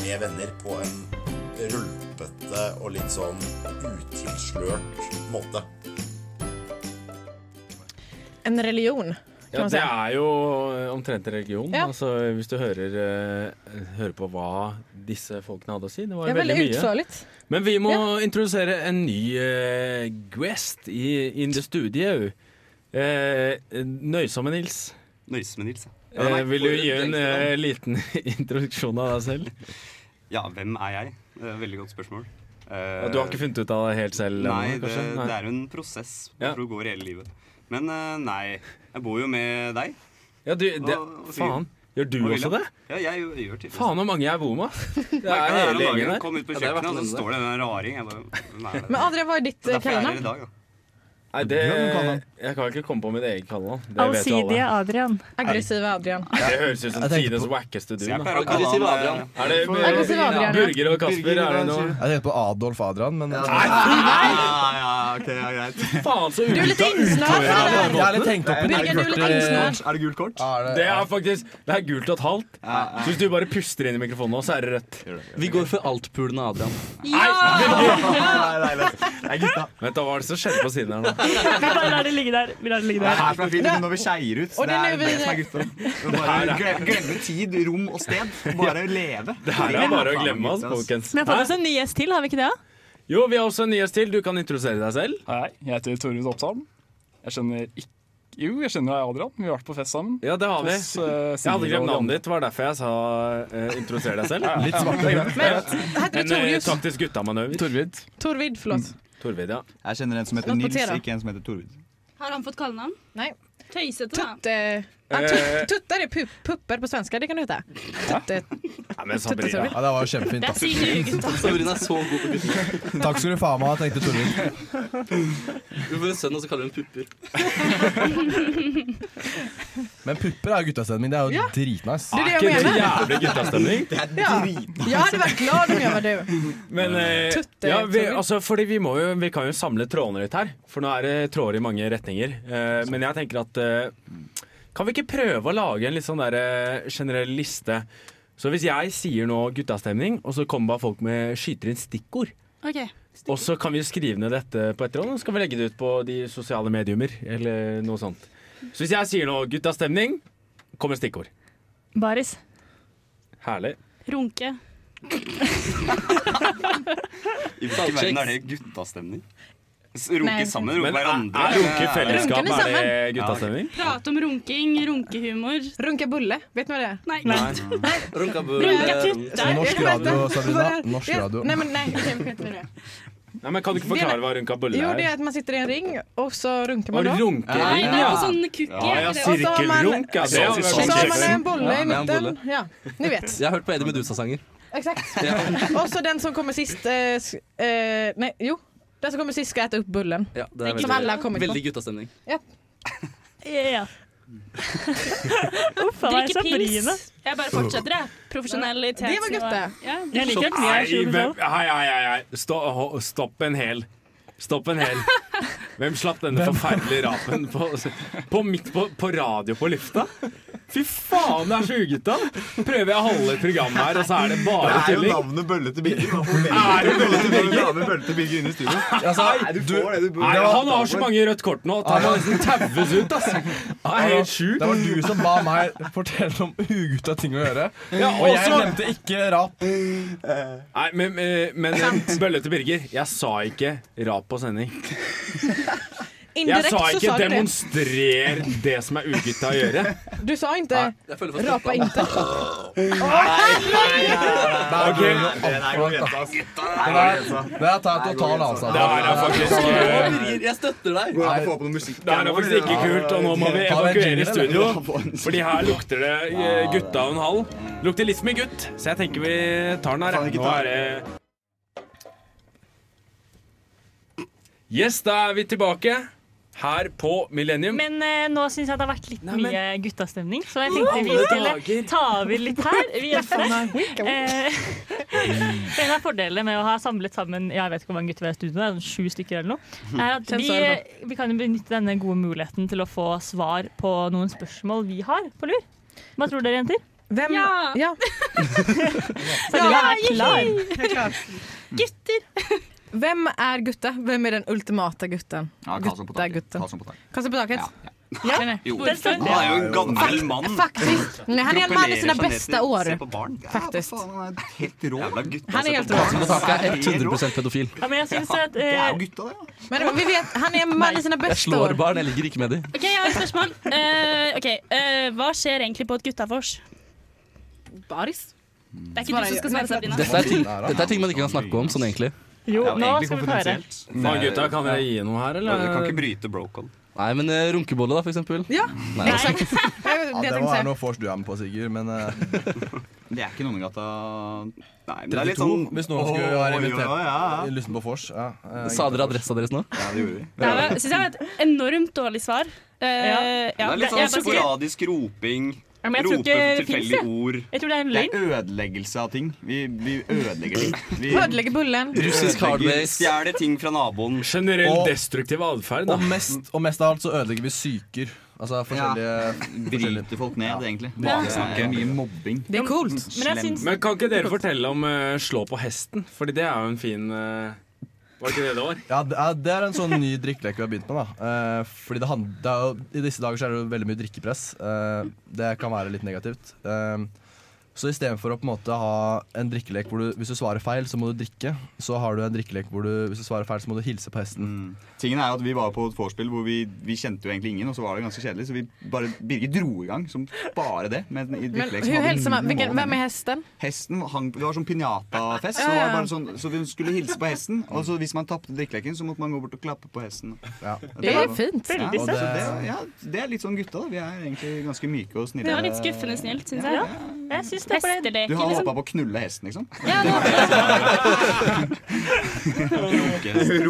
Speaker 13: med venner på en rølpete og litt sånn utilslørt måte.
Speaker 2: En religion, kan
Speaker 1: Ja,
Speaker 2: man si.
Speaker 1: det er jo eh, omtrent en religion.
Speaker 2: Ja.
Speaker 1: Altså, hvis du hører, eh, hører på hva disse folkene hadde å si. Det var
Speaker 2: Det er
Speaker 1: veldig,
Speaker 2: veldig
Speaker 1: mye.
Speaker 2: utførlig.
Speaker 1: Men vi må introdusere en ny eh, guest i in the studio. Eh, Nøysomme Nils.
Speaker 8: Nøysomme Nils, ja.
Speaker 1: Eh,
Speaker 8: nei,
Speaker 1: vil du
Speaker 8: for-
Speaker 1: gi en eh,
Speaker 8: det-
Speaker 1: liten introduksjon av deg selv?
Speaker 8: Ja, hvem er jeg? Det er et veldig godt spørsmål.
Speaker 1: Ja, Du har ikke funnet ut av det helt selv?
Speaker 8: Eh, Nei,
Speaker 1: ennå,
Speaker 8: det,
Speaker 1: kanskje? Nei.
Speaker 8: det er jo en prosess jeg tror går i hele livet. Men eh, nei, jeg bor jo med deg.
Speaker 1: Ja, du, det, faen. Gjør du også det?
Speaker 8: Ja, jeg gjør- gjør tydeligvis
Speaker 1: Faen så mange jeg bor med! Det er
Speaker 8: Merket det her om
Speaker 1: hele
Speaker 8: dagen.
Speaker 1: gjengen der.
Speaker 8: Kom ut på
Speaker 1: Ja, det har vært
Speaker 8: kjøkkenet, og så
Speaker 1: noen-
Speaker 8: står det en raring. Jeg bare, hvem er det?
Speaker 2: Men Adrian, hva er ditt eh,
Speaker 8: Derfor er jeg her i
Speaker 2: kallenavn?
Speaker 8: dag, altså. da.
Speaker 1: Nei, det,
Speaker 8: Du har noen kallenavn.
Speaker 1: jeg kan ikke komme på mitt eget kallenavn. Det vet jo alle.
Speaker 5: Allsidige Adrian.
Speaker 2: Aggressive Adrian.
Speaker 1: Ja, Det høres ut som
Speaker 3: Jeg tenkte
Speaker 1: tidenes
Speaker 3: på-
Speaker 1: wackeste
Speaker 3: Så
Speaker 1: duo.
Speaker 3: jeg
Speaker 1: da.
Speaker 3: pleier å kalle han, Aggressiv Adrian.
Speaker 1: Er det
Speaker 3: eh, Aggressiv Adrian, ja.
Speaker 1: Burger og Kasper? Er det noe
Speaker 3: Jeg tenkte på Adolf Adrian, men
Speaker 8: Ja, ja, ok, ja, greit.
Speaker 1: Faen, så
Speaker 3: Du er litt
Speaker 1: uta-
Speaker 3: innsnørt,
Speaker 1: utøyere
Speaker 3: eller?
Speaker 1: på den
Speaker 3: Jeg er litt
Speaker 1: måten.
Speaker 3: tenkt opp i det. Birger, du er litt innsnørt.
Speaker 8: Er det gult kort?
Speaker 1: Det er faktisk Det er gult og et halvt. Så hvis du bare puster inn i mikrofonen nå, så er det rødt. Vi går for altpulende Adrian. Nei, gutta. Vet du hva er det som skjedde på siden her nå?
Speaker 5: Vi bare lar det ligge der. Vi lar det ligge
Speaker 4: Det
Speaker 5: der.
Speaker 4: her som er fint, men når vi skeier ut,
Speaker 5: Og
Speaker 4: det
Speaker 5: det
Speaker 4: er
Speaker 5: lever-
Speaker 4: det som er gutta.
Speaker 1: her
Speaker 4: Bare
Speaker 1: er-
Speaker 4: glemme, glemme tid, rom og sted. Bare leve.
Speaker 1: Det her er bare å glemme oss, folkens.
Speaker 5: Men jeg har fått
Speaker 1: Hæ?
Speaker 5: oss en ny gjest til, har vi ikke det? da?
Speaker 1: Jo, vi har også en ny gjest til. Du kan introdusere deg selv.
Speaker 14: Hei, jeg heter Torjus Oppsal. Jeg skjønner ikke Jo, jeg skjønner deg, Adrian. Vi har vært på fest sammen.
Speaker 1: Ja, det har vi.
Speaker 14: Hos, eh,
Speaker 1: Jeg hadde
Speaker 14: Sigrid og de
Speaker 1: glemt
Speaker 14: andre.
Speaker 1: navnet ditt, var derfor jeg sa eh, introdusere deg selv.
Speaker 14: Ja, ja. Litt svart, ja.
Speaker 2: heter du
Speaker 1: En eh,
Speaker 2: Torjus?
Speaker 1: taktisk guttemanøver. Torvid.
Speaker 2: Torvid,
Speaker 3: Mm.
Speaker 2: forlåt.
Speaker 1: Torvid, ja.
Speaker 4: Jeg kjenner en som heter
Speaker 2: Nå
Speaker 4: Nils,
Speaker 2: noterer jeg.
Speaker 4: ikke en som heter Torvid.
Speaker 6: Har han fått kallenavn?
Speaker 2: Nei.
Speaker 6: Tøysete, da.
Speaker 2: Tutte... eh, Ja,
Speaker 3: Eh.
Speaker 2: tut, tutter er pu pupper på svenska, det kan du eh, hete. Tutte...
Speaker 1: Ja,
Speaker 3: men
Speaker 2: Sabrina.
Speaker 3: Ja, det var kjempefint.
Speaker 2: Der sier du, gutta.
Speaker 7: Sabrina er så god på gutter.
Speaker 3: Takk skal du faen meg ha, tenkte Torvild.
Speaker 7: Du får en sønn, og så kaller du ham pupper.
Speaker 3: Men pupper er jo guttastemning. Det er jo
Speaker 2: Ja.
Speaker 3: dritnice.
Speaker 2: Det er det jeg Er ikke det mener.
Speaker 1: jævlig guttastemning?
Speaker 2: Ja. Jeg hadde vært glad om jeg var du.
Speaker 1: Men eh,
Speaker 2: Tutte,
Speaker 1: ja, vi,
Speaker 2: Torvild.
Speaker 1: altså, fordi vi, må jo, vi kan jo samle trådene litt her, for nå er det tråder i mange retninger. Eh, men jeg tenker at eh, Kan vi ikke prøve å lage en litt sånn der, eh, generell liste? Så hvis jeg sier nå guttastemning, og så kommer bare folk med skyter inn stikkord,
Speaker 6: OK.
Speaker 1: og så kan vi skrive ned dette på et råd, og så kan vi legge det ut på de sosiale mediumer eller noe sånt. Så hvis jeg sier nå guttastemning, kommer stikkord.
Speaker 5: Baris.
Speaker 1: Herlig.
Speaker 6: Runke.
Speaker 8: I hvilken verden er det guttastemning? S- Runke
Speaker 6: Nei.
Speaker 8: sammen, runke
Speaker 1: Men er-
Speaker 8: hverandre.
Speaker 1: er runke i fellesskap, Runken er er det sammen.
Speaker 8: guttastemning?
Speaker 6: Prate om runking, runkehumor.
Speaker 2: Runkebulle, vet du hva det er?
Speaker 6: Nei.
Speaker 3: Norsk radio, Sabrina. Norsk radio.
Speaker 2: Nei, men nei, okay, vi skiter i det.
Speaker 1: Nei, men Kan du ikke
Speaker 2: Det-
Speaker 1: forklare hva runka bulle
Speaker 2: Jo, det
Speaker 1: er?
Speaker 2: er at man sitter i en ring, og så runker
Speaker 1: Og
Speaker 2: man da.
Speaker 1: runkering, Nei, det er ja. på sånn
Speaker 6: kukke,
Speaker 1: Ja, ja,
Speaker 2: Og altså, så har man-
Speaker 1: sirkelrunk, ja, det
Speaker 2: Så
Speaker 1: er jo
Speaker 2: har man en bolle
Speaker 7: Ja,
Speaker 2: i
Speaker 7: det er en
Speaker 2: midten.
Speaker 7: bolle.
Speaker 2: Ja, ni vet.
Speaker 7: Jeg har hørt på Eddie Medusa-sanger.
Speaker 2: Exakt. Og så den som kommer sist eh, s- eh, Nei, jo. Den som kommer sist, skal ete opp bullen.
Speaker 7: Ja, det er
Speaker 2: Som alle har
Speaker 7: veldig,
Speaker 2: kommet
Speaker 7: veldig
Speaker 2: på.
Speaker 7: guttastemning.
Speaker 5: Ja. Uff a meg,
Speaker 6: Drikke
Speaker 5: Sabrina.
Speaker 6: pils. Jeg bare fortsetter, jeg. Profesjonalitet.
Speaker 2: Det var godt, det.
Speaker 6: Ja,
Speaker 5: Jeg liker den, jeg er
Speaker 1: Nei,
Speaker 5: sju for
Speaker 1: hvem-
Speaker 5: selv.
Speaker 1: hei, hei, hei, hei. Stå- ho- Stopp en hel. Stopp en hel. Hvem slapp denne forferdelige rapen på, på midt på, på radio på lufta? Fy faen, det er så ugutta! Prøver jeg å holde et program her, og så er det bare
Speaker 4: Det er jo
Speaker 1: tulling.
Speaker 4: navnet Bølle til Birger.
Speaker 1: Er det Bølle til Birger?
Speaker 4: Bølle til Birger inne i studio.
Speaker 1: Altså,
Speaker 4: Nei, du
Speaker 1: du-
Speaker 4: får det du bor
Speaker 1: Nei, han har så mange rødt kort nå at han må nesten taues ut, ass. Han er helt sjuk.
Speaker 3: Det var du som ba meg fortelle om ugutta ting å gjøre.
Speaker 1: Ja,
Speaker 3: og jeg
Speaker 1: også-
Speaker 3: nevnte ikke rap.
Speaker 1: Nei, men, eh, men, men Bølle til Birger, jeg sa ikke rap på sending.
Speaker 2: Indirekt
Speaker 1: jeg sa
Speaker 2: så
Speaker 1: ikke
Speaker 2: sa du det.
Speaker 1: 'demonstrer det. som er ugutta å gjøre'.
Speaker 2: Du sa ikke rapa inte.
Speaker 1: Ok.
Speaker 3: Den er, den er tatt total avstand.
Speaker 1: Det her er faktisk, eh,
Speaker 7: Jeg støtter deg.
Speaker 1: Går an å få på Det her er faktisk ikke kult, og nå må vi
Speaker 3: Ta den
Speaker 1: evakuere
Speaker 3: jinglen,
Speaker 1: studio.
Speaker 3: eller?
Speaker 1: Fordi her lukter det eh, gutta og en halv. Lukter litt som en gutt, så jeg tenker vi tar den her.
Speaker 3: Faen, ikke
Speaker 1: Nå
Speaker 3: ta
Speaker 1: er det Yes, da er vi tilbake her på Millennium.
Speaker 5: Men eh, nå syns jeg det har vært litt mye guttastemning, så jeg
Speaker 1: Alle
Speaker 5: tenkte vi skulle
Speaker 1: dager.
Speaker 5: ta over litt her. Vi
Speaker 1: Ja, faen, nei.
Speaker 5: jenter. Eh, en av fordelene med å ha samlet sammen jeg vet ikke hvor mange gutter vi har i studio, det er sånn sju stykker eller noe, er at vi, eh,
Speaker 2: Sensuell,
Speaker 5: vi kan jo benytte denne gode muligheten til å få svar på noen spørsmål vi har på lur. Hva tror dere, jenter?
Speaker 2: Hvem?
Speaker 5: Ja!
Speaker 2: ja.
Speaker 5: Selina er klar.
Speaker 2: Jeg er klar.
Speaker 6: Gutter.
Speaker 2: Hvem er gutta? Hvem er den ultimate gutten?
Speaker 8: Ja, Karlsson på taket.
Speaker 2: Gutta-gutten.
Speaker 8: Karlsson på taket.
Speaker 2: Karlsson på taket?
Speaker 8: Ja.
Speaker 2: Kjenner jeg.
Speaker 8: Jo.
Speaker 2: Den står-
Speaker 8: Han er jo en gammel mann.
Speaker 2: Faktisk. Nei, han er en mann i sine
Speaker 8: Propellerer seg
Speaker 2: beste
Speaker 8: ned til-
Speaker 2: år.
Speaker 8: Se på barn.
Speaker 2: Faktisk.
Speaker 8: Helt rå. Jævla gutt.
Speaker 2: Han er helt rå.
Speaker 7: Karlsson på taket er 100 pedofil.
Speaker 5: Ja, men jeg synes at
Speaker 8: Det er
Speaker 5: eh,
Speaker 8: jo gutta, det.
Speaker 2: Men vi vet, han er en mann i sine
Speaker 7: Jeg
Speaker 2: beste
Speaker 7: slår
Speaker 2: år.
Speaker 7: barn, jeg ligger ikke med dem.
Speaker 6: OK, jeg har et spørsmål. Eh, ok, eh, Hva skjer egentlig på et guttavors? Baris? Det er ikke du som skal svare, Sabrina.
Speaker 7: Dette er, ting, dette er ting man ikke kan snakke om sånn egentlig.
Speaker 5: Jo,
Speaker 8: nå skal vi få høre.
Speaker 1: Faen, gutta, kan jeg gi noe her, eller?
Speaker 8: Du kan ikke bryte brocon.
Speaker 7: Nei, men eh, runkebolle, da, for eksempel.
Speaker 2: Ja.
Speaker 7: Nei.
Speaker 3: Ja, det må være noe vors du er med på, Sigurd, men eh,
Speaker 8: Det er ikke Nonnegata Nei, men det er litt
Speaker 3: 32,
Speaker 8: sånn
Speaker 3: hvis noen skulle
Speaker 8: Oi,
Speaker 3: være
Speaker 8: oi,
Speaker 3: invitert.
Speaker 8: oi, ja.
Speaker 3: Lysten på vors. Ja, eh,
Speaker 7: Sa dere adressa deres nå?
Speaker 8: Ja, det gjorde vi.
Speaker 6: Det var- synes jeg var et enormt dårlig svar. Eh,
Speaker 8: Det
Speaker 6: ja.
Speaker 8: er litt
Speaker 6: Jeg
Speaker 8: sånn
Speaker 6: bare sier-
Speaker 8: sporadisk roping.
Speaker 6: Ja, men jeg tror
Speaker 8: Rope
Speaker 6: ikke det finnes,
Speaker 8: tilfeldige
Speaker 6: jeg.
Speaker 8: ord.
Speaker 5: Jeg tror det er en
Speaker 8: Det er ødeleggelse av ting. Vi, vi ødelegger ting. Vi
Speaker 2: Ødelegger bullen.
Speaker 8: Ødelegger, Stjeler ting fra naboen.
Speaker 1: Generell destruktiv atferd.
Speaker 3: Og mest, og mest av alt så ødelegger vi psyker. Altså forskjellige Driter
Speaker 8: folk ned, egentlig.
Speaker 1: Ja.
Speaker 8: Baksnakke. Mye mobbing.
Speaker 2: Det er coolt.
Speaker 1: Men, kan ikke dere fortelle om eh, slå på hesten? Fordi det er jo en fin eh, Var ikke det det var?
Speaker 3: Ja, det er, det er en sånn ny drikkelek vi har begynt med. da Eh, Fordi det hand- det er jo, I disse dager så er det jo veldig mye drikkepress. Eh, det kan være litt negativt. Eh, så istedenfor å på en måte ha en drikkelek hvor du hvis du svarer feil, så må du drikke. Så har du en drikkelek hvor du hvis du svarer feil, så må du hilse på hesten.
Speaker 8: Tingen er jo at Vi var på et vorspiel hvor vi, vi kjente jo egentlig ingen, og så var det ganske kjedelig. Så vi bare Birgit dro i gang som bare det. Med en, i
Speaker 2: Men
Speaker 8: drikkelek som
Speaker 2: hun
Speaker 8: hadde
Speaker 2: hilser meg.
Speaker 8: null
Speaker 2: Hvilken,
Speaker 8: mål.
Speaker 2: hvem er hesten?
Speaker 8: Hesten hang, Det var sånn pinjatafest, så,
Speaker 2: Ja, ja,
Speaker 8: var
Speaker 2: ja.
Speaker 8: det bare sånn, så vi skulle hilse på hesten. Og så hvis man tapte drikkeleken, så måtte man gå bort og klappe på hesten.
Speaker 2: Det er fint.
Speaker 8: Ja,
Speaker 2: Veldig
Speaker 8: og
Speaker 2: søtt.
Speaker 8: det, ja, det er litt sånn gutta, da. Vi er egentlig ganske myke og snille.
Speaker 6: Det var litt skuffende snilt, syns jeg. liksom.
Speaker 5: Ja, jeg synes det ble
Speaker 8: Du har håpa på å knulle hesten, liksom?
Speaker 6: Ja, det
Speaker 8: Runkehesten.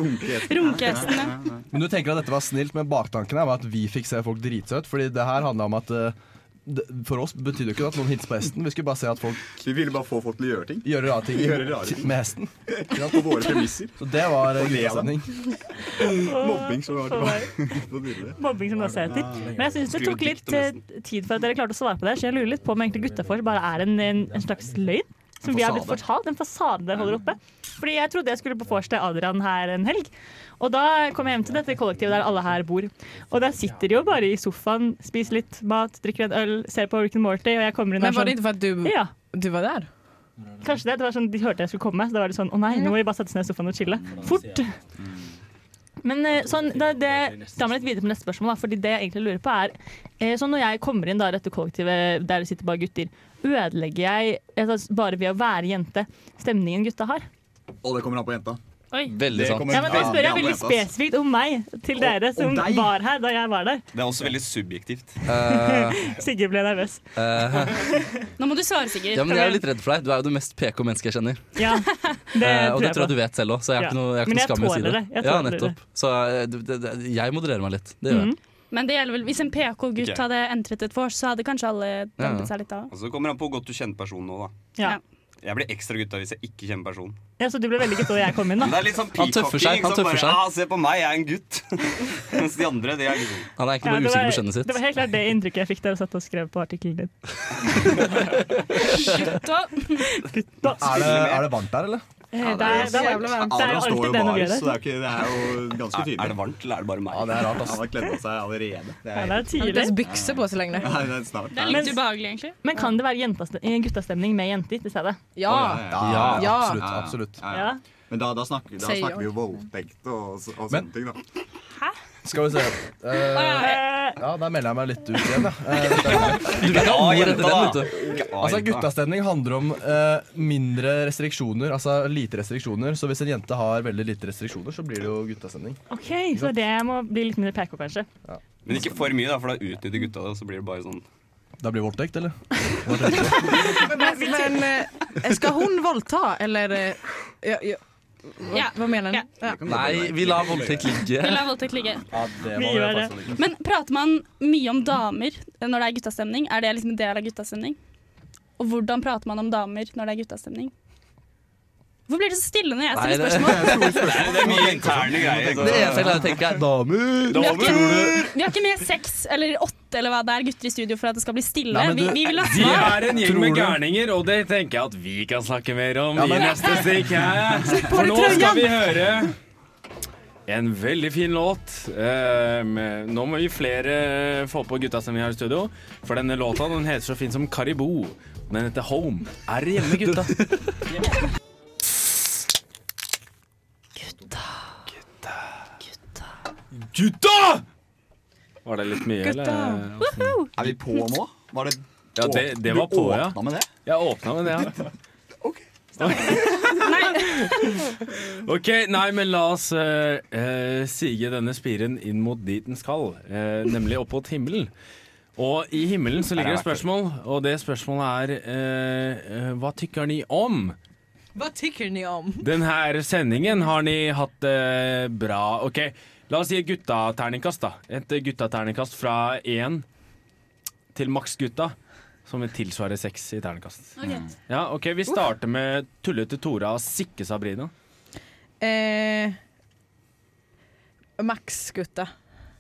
Speaker 6: Runkehesten, ja.
Speaker 3: Men du tenker at dette var snilt, men baktanken her var at vi fikk se folk drite seg ut. Fordi det her handla om at eh, det, for oss betydde jo ikke at noen hilste på hesten. Vi skulle bare se at folk
Speaker 8: Vi ville bare få folk til å gjøre ting.
Speaker 3: gjør rare ting,
Speaker 8: Gjøre rare ting.
Speaker 3: med hesten.
Speaker 8: Ja, på våre premisser.
Speaker 3: Så det var eh,
Speaker 8: Og le av dem.
Speaker 3: guttastemning.
Speaker 8: Mobbing som var tilbake. Nå begynner det.
Speaker 5: Mobbing som det også heter. Men jeg synes det tok litt eh, tid for at dere klarte å svare på det, så jeg lurer litt på om egentlig guttafors bare er en, en, en slags løgn. Som
Speaker 15: En
Speaker 5: vi har blitt
Speaker 15: fasade.
Speaker 5: fortalt. En fasade dere holder oppe. Fordi jeg trodde jeg skulle på vors til Adrian her en helg. Og da kom jeg hjem til dette kollektivet der alle her bor. Og der sitter de jo bare i sofaen, spiser litt mat, drikker en øl, ser på Rick and Morty, og jeg kommer inn
Speaker 2: Men
Speaker 5: der
Speaker 2: var det ikke for at du,
Speaker 5: Ja.
Speaker 2: du var der?
Speaker 5: Kanskje det. det var sånn, de hørte jeg skulle komme, så da var det sånn Å nei, nå må vi bare sette oss ned i sofaen og chille. Fort! Mm. Men eh, sånn, det, det tar meg litt videre på neste spørsmål, da, fordi det jeg egentlig lurer på er eh, sånn Når jeg kommer inn da, i dette kollektivet der det sitter bare gutter, ødelegger jeg altså, bare ved å være jente stemningen gutta har?
Speaker 8: Og det kommer an på jenta.
Speaker 5: Oi.
Speaker 8: Veldig sant.
Speaker 5: Ja, men da spør jeg veldig spesifikt om meg til dere som
Speaker 8: deg.
Speaker 5: var her da jeg var der.
Speaker 8: Det er også veldig subjektivt.
Speaker 5: Sigurd ble nervøs.
Speaker 6: Nå må du svare, Sigurd.
Speaker 7: Ja, men Jeg er jo litt redd for deg. Du er jo det mest PK mennesket jeg kjenner.
Speaker 5: Ja, det
Speaker 7: Eh, og
Speaker 5: tror
Speaker 7: det
Speaker 5: jeg
Speaker 7: tror jeg
Speaker 5: på.
Speaker 7: du vet selv òg, så jeg
Speaker 5: Ja.
Speaker 7: har ikke noe, jeg har
Speaker 5: Men
Speaker 7: ikke
Speaker 5: jeg
Speaker 7: noe skam i å si
Speaker 5: tåler
Speaker 7: det.
Speaker 5: det. Jeg
Speaker 7: Ja,
Speaker 5: tåler det. Mm-hmm.
Speaker 7: nettopp. Så eh, det, det, det, jeg modererer meg litt. Det gjør jeg.
Speaker 6: Men det gjelder vel hvis en PK-gutt
Speaker 8: Ok.
Speaker 6: hadde entret et vors, så hadde kanskje alle dempet seg litt av.
Speaker 8: Og så kommer det an på hvor godt du kjenner personen nå, da.
Speaker 5: Ja.
Speaker 8: Jeg blir ekstra gutta hvis jeg ikke kjenner personen.
Speaker 5: Ja, Så du ble veldig gutta da jeg kom inn, da.
Speaker 8: Men det er litt sånn
Speaker 7: Han tøffer seg,
Speaker 8: peacocking.
Speaker 7: han
Speaker 8: Sånn
Speaker 7: tøffer
Speaker 8: bare,
Speaker 7: seg.
Speaker 8: ah, se på meg, jeg er en gutt. Mens de andre, de er liksom
Speaker 7: Han er
Speaker 5: Ja,
Speaker 7: egentlig bare
Speaker 5: det var-
Speaker 7: usikker på skjønnet
Speaker 5: Det var
Speaker 7: sitt.
Speaker 5: helt klart det inntrykket jeg fikk da jeg satt og skrev på artikkelen din.
Speaker 3: Er det, er det varmt der, eller?
Speaker 5: Eh, altså. det er- det er varmt. Det er jo alltid det når vi gjør det.
Speaker 8: Så det er, jo ikke, det er jo ganske tydelig. Er det varmt, eller er det bare meg? Ja, det er rart, ass. Han har kledd av seg allerede. Det
Speaker 5: Ja, det er
Speaker 2: Han har ikke
Speaker 5: tidlig.
Speaker 2: ens bykse på så lenge.
Speaker 8: Nei, det er snart.
Speaker 6: Det er litt ubehagelig, egentlig.
Speaker 5: Men kan det være jentas- eh, guttastemning med jenter til stedet?
Speaker 3: Ja,
Speaker 8: Ja.
Speaker 3: absolutt.
Speaker 8: Ja, ja.
Speaker 3: absolutt.
Speaker 5: Ja.
Speaker 8: Men da, da snakker, da
Speaker 5: Sier
Speaker 8: snakker vi
Speaker 5: jo.
Speaker 8: jo voldtekt og, og sånne ting, da.
Speaker 3: Skal vi se. Eh, ja, der melder jeg meg litt ut igjen, ja. Eh,
Speaker 7: Du vil ikke ha jenta,
Speaker 3: ordet til
Speaker 7: da.
Speaker 3: den, vet du.
Speaker 7: Du vil ikke ha
Speaker 3: Altså,
Speaker 7: jenta.
Speaker 3: guttastemning handler om eh, mindre restriksjoner, altså lite restriksjoner. Så hvis en jente har veldig lite restriksjoner, så blir det jo guttastemning.
Speaker 5: OK, så det må bli litt mindre PK, kanskje.
Speaker 7: Men ikke for mye, da, for da utnytter gutta det, og så blir det bare sånn
Speaker 3: Da blir det voldtekt, eller?
Speaker 2: Men, men eh, skal hun voldta, eller eh, ja, ja. Hva, hva mener du? Ja.
Speaker 7: Nei, vi lar voldtekt ligge.
Speaker 6: Vi lar voldtekt ligge.
Speaker 7: Ja, det
Speaker 6: Vi gjør det. Men prater man mye om damer når det er guttastemning? Er det liksom en del av guttastemning? Og hvordan prater man om damer når det er guttastemning? Hvorfor blir det så stille når jeg
Speaker 7: Nei,
Speaker 6: stiller
Speaker 7: det-
Speaker 6: spørsmål?
Speaker 7: Det er mye interne greier. Det eneste jeg klarer å tenke, er damer!
Speaker 6: Vi har, ikke, vi har ikke med seks eller åtte eller hva det er gutter i studio for at det skal bli stille.
Speaker 1: Nei, men
Speaker 6: vi,
Speaker 1: du-
Speaker 6: vi vil ha
Speaker 1: De
Speaker 6: svar.
Speaker 1: er en gjeng med gærninger, og det tenker jeg at vi kan snakke mer om
Speaker 6: Ja, men-
Speaker 1: i neste stikk. ja.
Speaker 6: Slipp på
Speaker 1: For
Speaker 6: deg
Speaker 1: nå skal
Speaker 6: trøyen!
Speaker 1: vi høre en veldig fin låt. Eh, med- nå må vi flere eh, få på gutta som vi har i studio, for denne låta den heter så fin som Karibo. Den heter Home. Er det hjemme, gutta? Gutta! Var det litt mye, eller?
Speaker 8: Er vi på nå? Var det
Speaker 1: Ja, det, det
Speaker 8: Du
Speaker 1: var på, ja.
Speaker 8: åpna med det?
Speaker 1: Jeg åpna med det, ja. OK, nei, men la oss eh, eh, sige denne spiren inn mot dit den skal, eh, nemlig opp mot himmelen. Og i himmelen så ligger det et spørsmål, og det spørsmålet er eh, eh, Hva tykker ni om?
Speaker 2: Hva tykker ni om?
Speaker 1: Den her sendingen har ni hatt det bra OK, la oss si et guttaterningkast, da. Et guttaterningkast fra én til maks gutta, som vil tilsvare seks i terningkast. Ja, OK, vi starter med tullete Tora og sikke Sabrina.
Speaker 2: Eh, Max, gutta.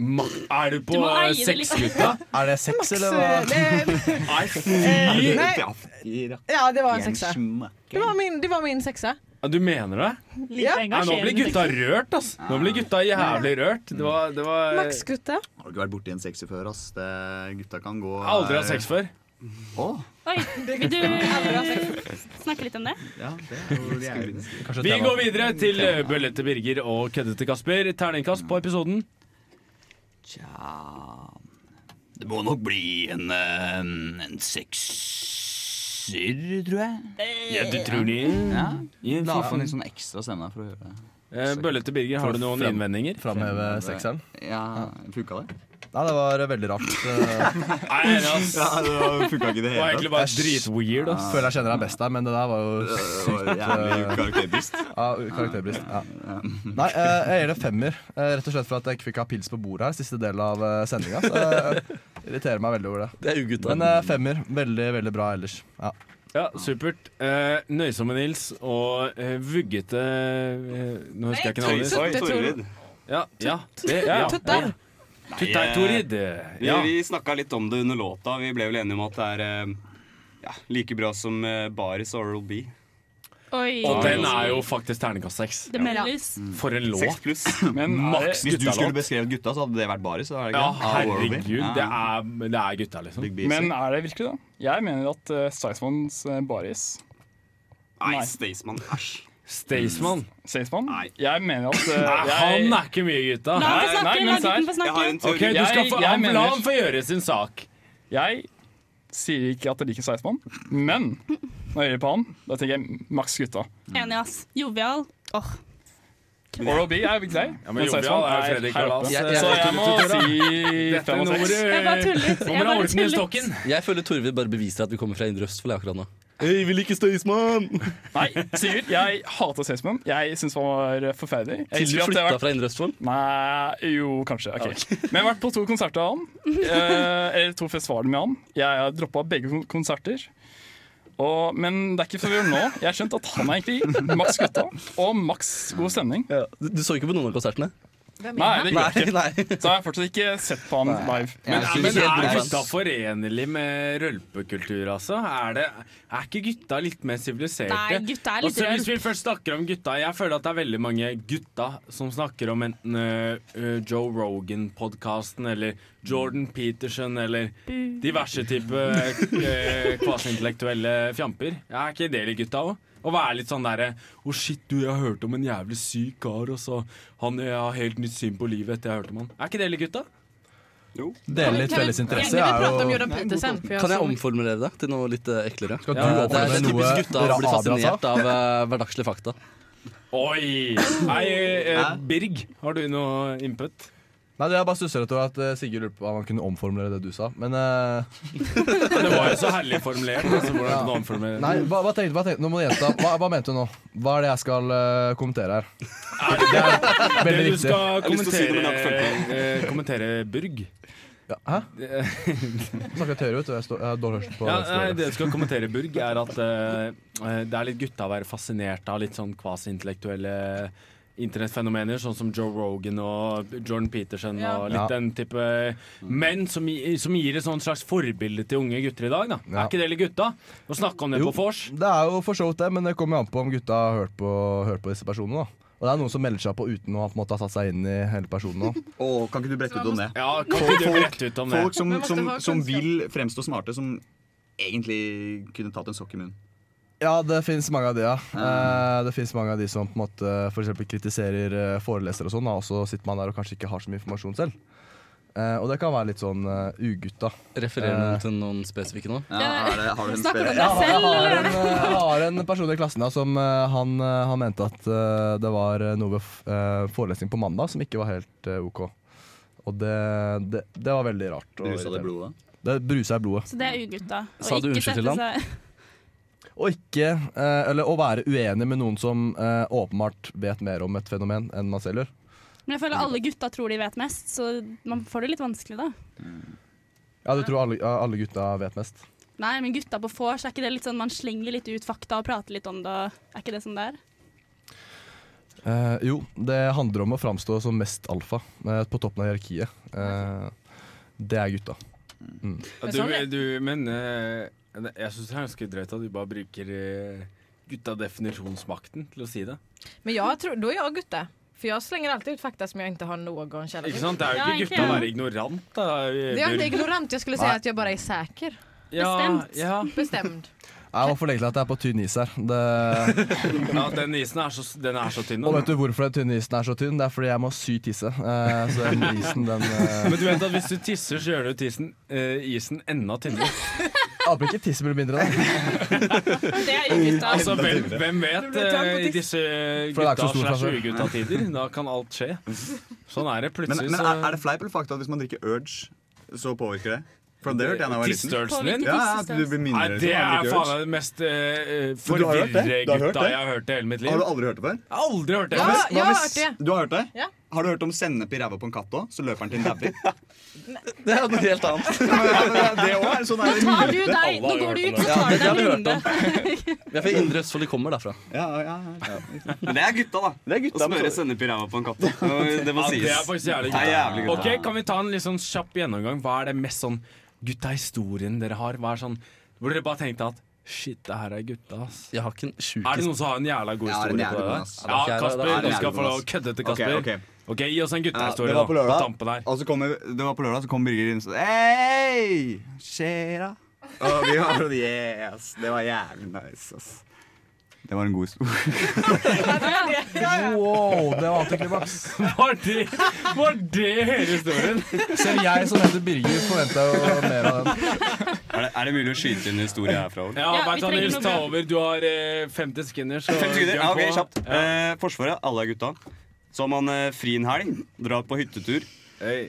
Speaker 1: Ma er du
Speaker 2: Du
Speaker 1: på
Speaker 2: må eie det litt.
Speaker 1: sexgutta?
Speaker 3: Er det sex,
Speaker 2: Max,
Speaker 3: eller hva?
Speaker 2: eh, det-
Speaker 1: Nei,
Speaker 2: Eh,
Speaker 1: fy!
Speaker 2: nei. Ja, det var en sekser. Det var min, det var min sekser.
Speaker 1: Ja, Du mener det?
Speaker 2: Ja.
Speaker 1: Nei, nå blir gutta rørt, ass. Nå blir gutta jævlig rørt. Det var, det var
Speaker 2: Ah. Max, gutta.
Speaker 8: Har du ikke vært borti en sekser før, ass? Det, gutta kan gå
Speaker 1: Jeg har aldri hatt sex før.
Speaker 6: Oi, vil du snakke litt om det?
Speaker 8: Ja, det er jo det er jo-
Speaker 1: Vi går videre til eh, Bøllete Birger og Køddete Kasper. Terningkast på episoden.
Speaker 4: Tja Det må nok bli en, eh, en sekser, tror jeg.
Speaker 1: Ja, du tror det?
Speaker 4: Ja.
Speaker 1: Ja,
Speaker 4: Da
Speaker 1: fy
Speaker 4: har
Speaker 1: faen.
Speaker 4: man litt sånn ekstra stemme for å høre.
Speaker 1: Eh, Bøllete Birger, har du noen
Speaker 3: Frem-
Speaker 1: innvendinger?
Speaker 3: Framheve sekseren?
Speaker 8: Ja, funka det?
Speaker 3: Nei, det var veldig rart. eh.
Speaker 1: Nei, ass.
Speaker 8: Ja, det var- funka ikke i det hele
Speaker 1: Det var egentlig bare
Speaker 3: tatt.
Speaker 1: dritweird, ass.
Speaker 3: Føler jeg kjenner deg best der, men det der var jo
Speaker 8: var
Speaker 3: sykt
Speaker 8: jævlig
Speaker 3: eh,
Speaker 8: karakterbrist.
Speaker 3: Ja, karakterbrist. Ja. Nei, eh, jeg gir det femmer. eh, Rett og slett for at jeg ikke fikk ha pils på bordet her siste del av sendinga. Så jeg irriterer meg veldig over det.
Speaker 7: Det er ugutta.
Speaker 3: Men eh, femmer. Veldig, veldig bra ellers. Ja.
Speaker 1: Ja, supert. Eh, nøysomme Nils og eh, vuggete eh, Nå husker jeg ikke
Speaker 8: Nei,
Speaker 1: navnet.
Speaker 8: Tor- Oi, Torrid.
Speaker 1: Ja, ja, det, ja.
Speaker 2: Tuttar.
Speaker 1: Tuttar Torrid.
Speaker 7: Vi,
Speaker 1: Ja.
Speaker 7: vi snakka litt om det under låta. Vi ble vel enige om at det er eh, ja, like bra som eh, Baris og Oral B.
Speaker 6: Oi.
Speaker 1: Og den er jo faktisk terningkast seks. Mm.
Speaker 6: Det meldes.
Speaker 1: For en låt.
Speaker 8: Seks pluss.
Speaker 1: Maks
Speaker 8: Hvis du
Speaker 1: guttalåt.
Speaker 8: skulle beskrevet gutta, så hadde det vært baris. så er det
Speaker 1: Ja,
Speaker 8: ikke det? Av Oral-B.
Speaker 1: herregud.
Speaker 8: Ja.
Speaker 1: Det er, det er gutta, liksom.
Speaker 14: Men eh, er det virkelig det? Jeg mener at uh, Staysmans eh, baris
Speaker 7: Nei, Staysman. Æsj.
Speaker 1: Staysman?
Speaker 14: Staysman? Jeg mener at eh,
Speaker 1: Nei,
Speaker 14: jeg,
Speaker 1: han er ikke mye gutta.
Speaker 6: La han få snakke, la
Speaker 14: men
Speaker 6: gutten
Speaker 14: sær-
Speaker 6: få snakke.
Speaker 1: Ok, du skal få,
Speaker 14: Jeg- jeg
Speaker 1: han, la
Speaker 14: mener-
Speaker 1: han få gjøre sin sak.
Speaker 14: Jeg sier ikke at jeg liker Staysman, men når jeg hører på han, da tenker jeg maks gutta.
Speaker 6: Enig, ass. Jovial. Åh.
Speaker 14: Oral B er grei,
Speaker 1: men Jovial
Speaker 14: Staysman
Speaker 1: er Fredrik
Speaker 14: her oppe.
Speaker 1: Kalas.
Speaker 7: Jeg- jeg-
Speaker 14: Så jeg må
Speaker 1: Dette er
Speaker 14: si
Speaker 1: Dette
Speaker 14: fem
Speaker 1: er
Speaker 14: og
Speaker 1: noe
Speaker 14: seks.
Speaker 6: Jeg bare tullet.
Speaker 1: Nå må
Speaker 6: Jeg
Speaker 1: du ha
Speaker 6: bare
Speaker 1: Eh, orden i
Speaker 6: tullet.
Speaker 1: stokken.
Speaker 7: Jeg føler Torvid bare beviser at vi kommer fra Indre Østfold akkurat nå.
Speaker 14: Hei, vi liker Staysman! Nei, Sigurd, jeg hater Staysman. Jeg syns han var forferdelig. Jeg
Speaker 7: Til du
Speaker 14: husker at jeg har
Speaker 7: flytta
Speaker 14: vært-
Speaker 7: fra Indre Østfold?
Speaker 14: Nei Jo, kanskje. ok Men jeg har vært på to konserter av han. Eh, eller to festivaler med han. Jeg har droppa begge kon- konserter. Og, men det er ikke før vi gjør det nå. Jeg har skjønt at han er egentlig maks gutta, og maks god stemning.
Speaker 7: Du, du så ikke på noen av konsertene?
Speaker 14: Nei, det gjør jeg ikke.
Speaker 7: Nei, nei.
Speaker 14: Så har jeg fortsatt ikke sett på han live.
Speaker 1: Men,
Speaker 14: Men,
Speaker 1: men
Speaker 14: men,
Speaker 1: er gutta forenlig med rølpekultur, altså? Er, det, er ikke gutta litt mer siviliserte?
Speaker 6: Nei, gutta er litt
Speaker 1: altså, Hvis vi
Speaker 6: rølp.
Speaker 1: først snakker om gutta Jeg føler at det er veldig mange gutta som snakker om enten øh, øh, Joe Rogan-podkasten eller Jordan Peterson eller eh, diverse type øh, kvasiintellektuelle fjamper. Er ikke det litt gutta òg? Og være litt sånn derre Å, shit, du, jeg hørte om en jævlig syk kar, og så Han jeg har helt nytt syn på livet etter jeg hørte om han. Er ikke det litt, gutta?
Speaker 7: Jo.
Speaker 3: Dele litt felles interesse er jo
Speaker 7: Kan jeg omformulere det til noe litt eh, eklere?
Speaker 3: Skal du
Speaker 7: Ja, det er
Speaker 3: omformulere noe
Speaker 7: typisk gutta å bli
Speaker 3: Adrian sa?
Speaker 7: fascinert av eh, hverdagslige fakta.
Speaker 1: Oi! Nei, eh, Birg, har du noe input?
Speaker 3: Nei, det Jeg bare stusser litt over at eh, Sigurd lurte på om han kunne omformulere det du sa. Men eh,
Speaker 1: Det var jo så herlig formulert. Altså, hvordan
Speaker 3: Ja.
Speaker 1: kan du omformulere det?
Speaker 3: Nei, hva, hva tenkte, hva tenkte Nå må du gjenta. Hva, hva mente du nå? Hva er det jeg skal eh, kommentere her? Det er veldig
Speaker 1: Det du
Speaker 3: viktig.
Speaker 1: skal
Speaker 3: Jeg har lyst til å si det, men jeg har
Speaker 1: kommentere,
Speaker 3: ikke
Speaker 1: eh, kommentere Burg.
Speaker 3: Hæ? Snakker jeg tørre ut? og Jeg, står- jeg har dårlig hørsel på
Speaker 1: Ja,
Speaker 3: venstre
Speaker 1: nei,
Speaker 3: øre.
Speaker 1: det du skal kommentere, Burg, er at eh, eh, det er litt gutta å være fascinert av litt sånn kvasi-intellektuelle internettfenomener, sånn som Joe Rogan og Jordan Peterson
Speaker 3: Ja.
Speaker 1: og litt
Speaker 3: Ja.
Speaker 1: den type menn som, gi- som gir et sånn slags forbilde til unge gutter i dag. Da.
Speaker 3: Ja.
Speaker 1: Er ikke det litt gutta? Å snakke om det på vors?
Speaker 3: Det er jo for så vidt det, men det kommer jo an på om gutta har hørt på, hørt på disse personene. da Og det er noen som melder seg på uten å ha på en måte ha satt seg inn i hele personen. da.
Speaker 8: Og kan ikke du brette ut om det?
Speaker 1: Ja,
Speaker 3: kan
Speaker 8: Folk-
Speaker 3: ikke du
Speaker 8: folk-
Speaker 3: brette ut om det?
Speaker 8: Folk som,
Speaker 3: Men måtte
Speaker 8: som,
Speaker 3: ha
Speaker 8: som
Speaker 3: kunnskap.
Speaker 8: vil fremstå smarte, som egentlig kunne tatt en sokk i munnen.
Speaker 3: Ja, det finnes mange av de, ja. Eh, Det finnes mange av de som på en måte for eksempel kritiserer eh, forelesere og sånn, da, og så sitter man der og kanskje ikke har så mye informasjon selv. Eh, og det kan være litt sånn uh, ugutt, da.
Speaker 7: Refererer
Speaker 3: Eh.
Speaker 7: noen til noen spesifikke nå?
Speaker 8: Ja, er det- har du en Snakker du om spesifikk? deg
Speaker 3: Ja, jeg
Speaker 8: selv,
Speaker 3: har
Speaker 8: eller?
Speaker 3: en, eh, jeg har en person i klassen da, som eh, han, eh, han mente at eh, det var eh, noe ved f- eh, forelesning på mandag som ikke var helt eh, OK. Og det, det, det var veldig rart. og
Speaker 8: Brusa det i
Speaker 3: irriterende.
Speaker 8: blodet?
Speaker 3: Det brusa i blodet.
Speaker 6: Så det er ugutta. å
Speaker 3: Sa du
Speaker 6: ikke
Speaker 3: unnskyld til
Speaker 6: sette
Speaker 3: han?
Speaker 6: seg-
Speaker 3: Og ikke, eh, eller å være uenig med noen som eh, åpenbart vet mer om et fenomen enn man selv gjør.
Speaker 6: Men jeg føler alle gutta tror de vet mest, så man får det litt vanskelig da.
Speaker 3: Ja, du tror alle, ja, alle gutta vet mest.
Speaker 6: Nei, men gutta på vors, er ikke det litt sånn man slenger litt ut fakta og prater litt om det? og Er ikke det sånn det er?
Speaker 3: Eh, jo, det handler om å framstå som mest alfa eh, på toppen av hierarkiet. Eh, det er gutta. Mm.
Speaker 1: Ja, Du, du, men eh, jeg syns det er ganske drøyt at du bare bruker eh, gutta definisjonsmakten til å si det.
Speaker 10: Men jag tror, då är jag gutta. För jag slänger alltid ut fakta som jag inte har någon källa
Speaker 1: Ikke sant? Det er jo ikke gutta å være ignorant, da. eh,
Speaker 10: Det är inte ignorant, jag skulle säga
Speaker 3: Nej.
Speaker 10: att jag bara är säker.
Speaker 1: Ja, Bestämt. ja.
Speaker 10: Bestämd.
Speaker 3: Jeg må forlegge til at det er på tynn is her. Det,
Speaker 1: Ja, den isen er så, den er så tynn. nå.
Speaker 3: og vet du hvorfor den tynne isen er så tynn? Det er fordi jeg må sy tisse. Eh, så den isen, den eh,
Speaker 1: Men du vet at hvis du tisser, så gjør du tissen, eh, isen enda tynnere.
Speaker 3: Aper ikke tissen blir mindre, da.
Speaker 6: Det er
Speaker 3: ugutta.
Speaker 1: Altså, hvem, hvem vet
Speaker 3: ble trang på
Speaker 1: eh, i
Speaker 3: tiss.
Speaker 1: disse
Speaker 3: For det er ikke
Speaker 1: gutta
Speaker 3: så stor
Speaker 1: slash
Speaker 3: klasse.
Speaker 1: ugutta-tider? Da kan alt skje. Sånn er det
Speaker 8: Men,
Speaker 1: plutselig.
Speaker 8: men
Speaker 1: så-
Speaker 8: er, er det fleip eller fakta at hvis man drikker Urge, så påvirker det? For det hørte jeg da jeg var liten.
Speaker 1: Tissstørrelsen din?
Speaker 8: Ja, ja, at du blir mindre.
Speaker 1: Nei,
Speaker 8: eller
Speaker 1: det
Speaker 8: sånn,
Speaker 1: er
Speaker 8: av å drikke
Speaker 1: faen
Speaker 8: Urge.
Speaker 1: meg det mest uh,
Speaker 8: Du, du har hørt
Speaker 1: forvirre
Speaker 8: det? Du har hørt
Speaker 1: gutta
Speaker 8: det?
Speaker 1: jeg har hørt i hele mitt liv.
Speaker 8: Har du aldri hørt det før?
Speaker 1: Jeg har aldri hørt det.
Speaker 8: Hva hvis-
Speaker 10: jeg
Speaker 8: hva
Speaker 10: har
Speaker 8: hvis-
Speaker 10: hørt
Speaker 8: Du har hørt det?
Speaker 10: Ja.
Speaker 8: Har du hørt om sennep i ræva på en katt òg? Så løper den til en dauer.
Speaker 7: Det er noe helt annet.
Speaker 8: det òg er sånn der-
Speaker 6: Nå tar du deg- nå går du ut, så tar du deg en runde.
Speaker 7: Det er fra Indre Østfold de kommer derfra.
Speaker 8: Ja, ja, ja.
Speaker 15: Men det er gutta, da.
Speaker 7: Det er
Speaker 15: Å smøre sennep i ræva på en katt. Det må- det må
Speaker 1: Ja,
Speaker 15: sies.
Speaker 1: det er faktisk jævlig
Speaker 15: Det er jævlig
Speaker 1: gutta.
Speaker 15: gutta.
Speaker 1: Ok, Kan vi ta en litt sånn kjapp gjennomgang? Hva er det mest sånn gutta-historien dere har? Hva er sånn, hvor dere bare tenkte at Shit, det her er gutta, ass.
Speaker 7: Jeg har ikke en sjuk
Speaker 1: Er det noen som har en jævla god
Speaker 7: Jeg har en
Speaker 1: historie
Speaker 7: jævlig
Speaker 1: på det?
Speaker 7: god,
Speaker 1: der?
Speaker 7: ass.
Speaker 1: Ja,
Speaker 7: Ja, det er- det
Speaker 1: Kasper,
Speaker 7: er- det er
Speaker 1: du skal få
Speaker 7: jævlig god,
Speaker 1: lov å
Speaker 7: ass.
Speaker 1: kødde til
Speaker 8: Ok,
Speaker 1: Kasper.
Speaker 8: ok.
Speaker 1: ok, gi oss en
Speaker 8: det
Speaker 1: guttehistorie,
Speaker 8: var på
Speaker 1: da.
Speaker 8: lørdag.
Speaker 1: På tampen her.
Speaker 8: Og så kommer, det var på lørdag, så kom Birger inn og sa Hei! Skjer'a? Og vi var sånn Yes! Det var jævlig nice, ass. Det var en god historie.
Speaker 3: Wow, det var antiklimaks.
Speaker 1: Var det, var det hele historien?
Speaker 3: Selv jeg som heter Birger, forventa jo mer av den.
Speaker 15: Er det, er det mulig å skyte inn en historie herfra? også?
Speaker 1: Ja, vet du, hva, Nils, ta over. Du har eh, 50 skinner, så
Speaker 15: Fem sekunder.
Speaker 1: gønn
Speaker 15: Ja, ok,
Speaker 1: på.
Speaker 15: kjapt. Eh, forsvaret, alle er gutta. Så har man eh, fri en helg, drar på hyttetur.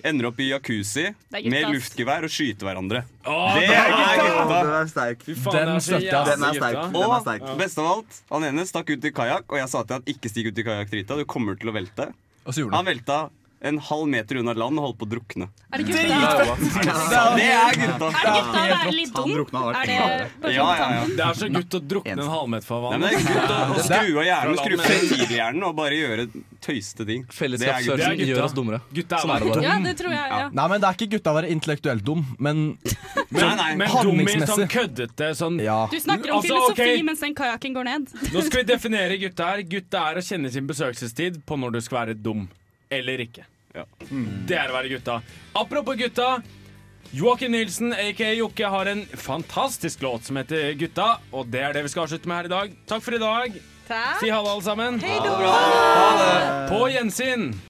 Speaker 15: Ender opp i jacuzzi
Speaker 6: er gutta,
Speaker 15: med
Speaker 6: ass.
Speaker 15: luftgevær og skyter hverandre.
Speaker 1: Å,
Speaker 15: det
Speaker 1: det
Speaker 15: er
Speaker 1: er
Speaker 15: gutta!
Speaker 1: gutta!
Speaker 8: Den er sterk.
Speaker 1: Fy faen, Den det er så støtter jeg, ass. jævlig
Speaker 15: Den er sterk.
Speaker 1: gutta.
Speaker 15: Og
Speaker 1: Den er sterk.
Speaker 15: best av alt, han ene stakk ut i kajakk, og jeg sa til han ikke stikk ut i kajakkdrita, du kommer til å velte.
Speaker 3: Og så gjorde
Speaker 15: han velta en halv meter unna land og holdt på å drukne.
Speaker 6: Er det gutta?
Speaker 15: Det er gutta!
Speaker 6: Er det gutta å være litt dum? Er det
Speaker 15: Ja, ja, ja.
Speaker 1: Det er så gutt å drukne en halvmeter fra
Speaker 15: Nei,
Speaker 1: vann.
Speaker 15: men det er gutta å skru av hjernen, skru
Speaker 1: Fra landet.
Speaker 15: fellesskapshjørelsen og bare gjøre tøyste ting.
Speaker 7: Fellesskapsfølelsen
Speaker 15: Det er gutta.
Speaker 7: gjør oss dummere.
Speaker 1: Gutta
Speaker 7: Sånn er
Speaker 1: det
Speaker 7: bare.
Speaker 6: Ja, det tror jeg, ja.
Speaker 3: Nei, men det er ikke gutta å være intellektuelt dum, men,
Speaker 1: Men, men dummi, sånn
Speaker 3: handlingsmessig.
Speaker 1: køddete sånn
Speaker 6: Du snakker om
Speaker 1: Altså,
Speaker 6: filosofi
Speaker 1: ok,
Speaker 6: mens den kajakken går ned.
Speaker 1: Nå skal vi definere gutta her. Gutta er å kjenne sin besøkelsestid på når du skal være dum eller ikke. Det er å være gutta. Apropos gutta. Joakim Nilsen, aka Jokke, har en fantastisk låt som heter 'Gutta'. Og det er det vi skal avslutte med her i dag. Takk for i dag.
Speaker 2: Takk.
Speaker 1: Si ha det, alle sammen.
Speaker 2: Hei då.
Speaker 1: På gjensyn.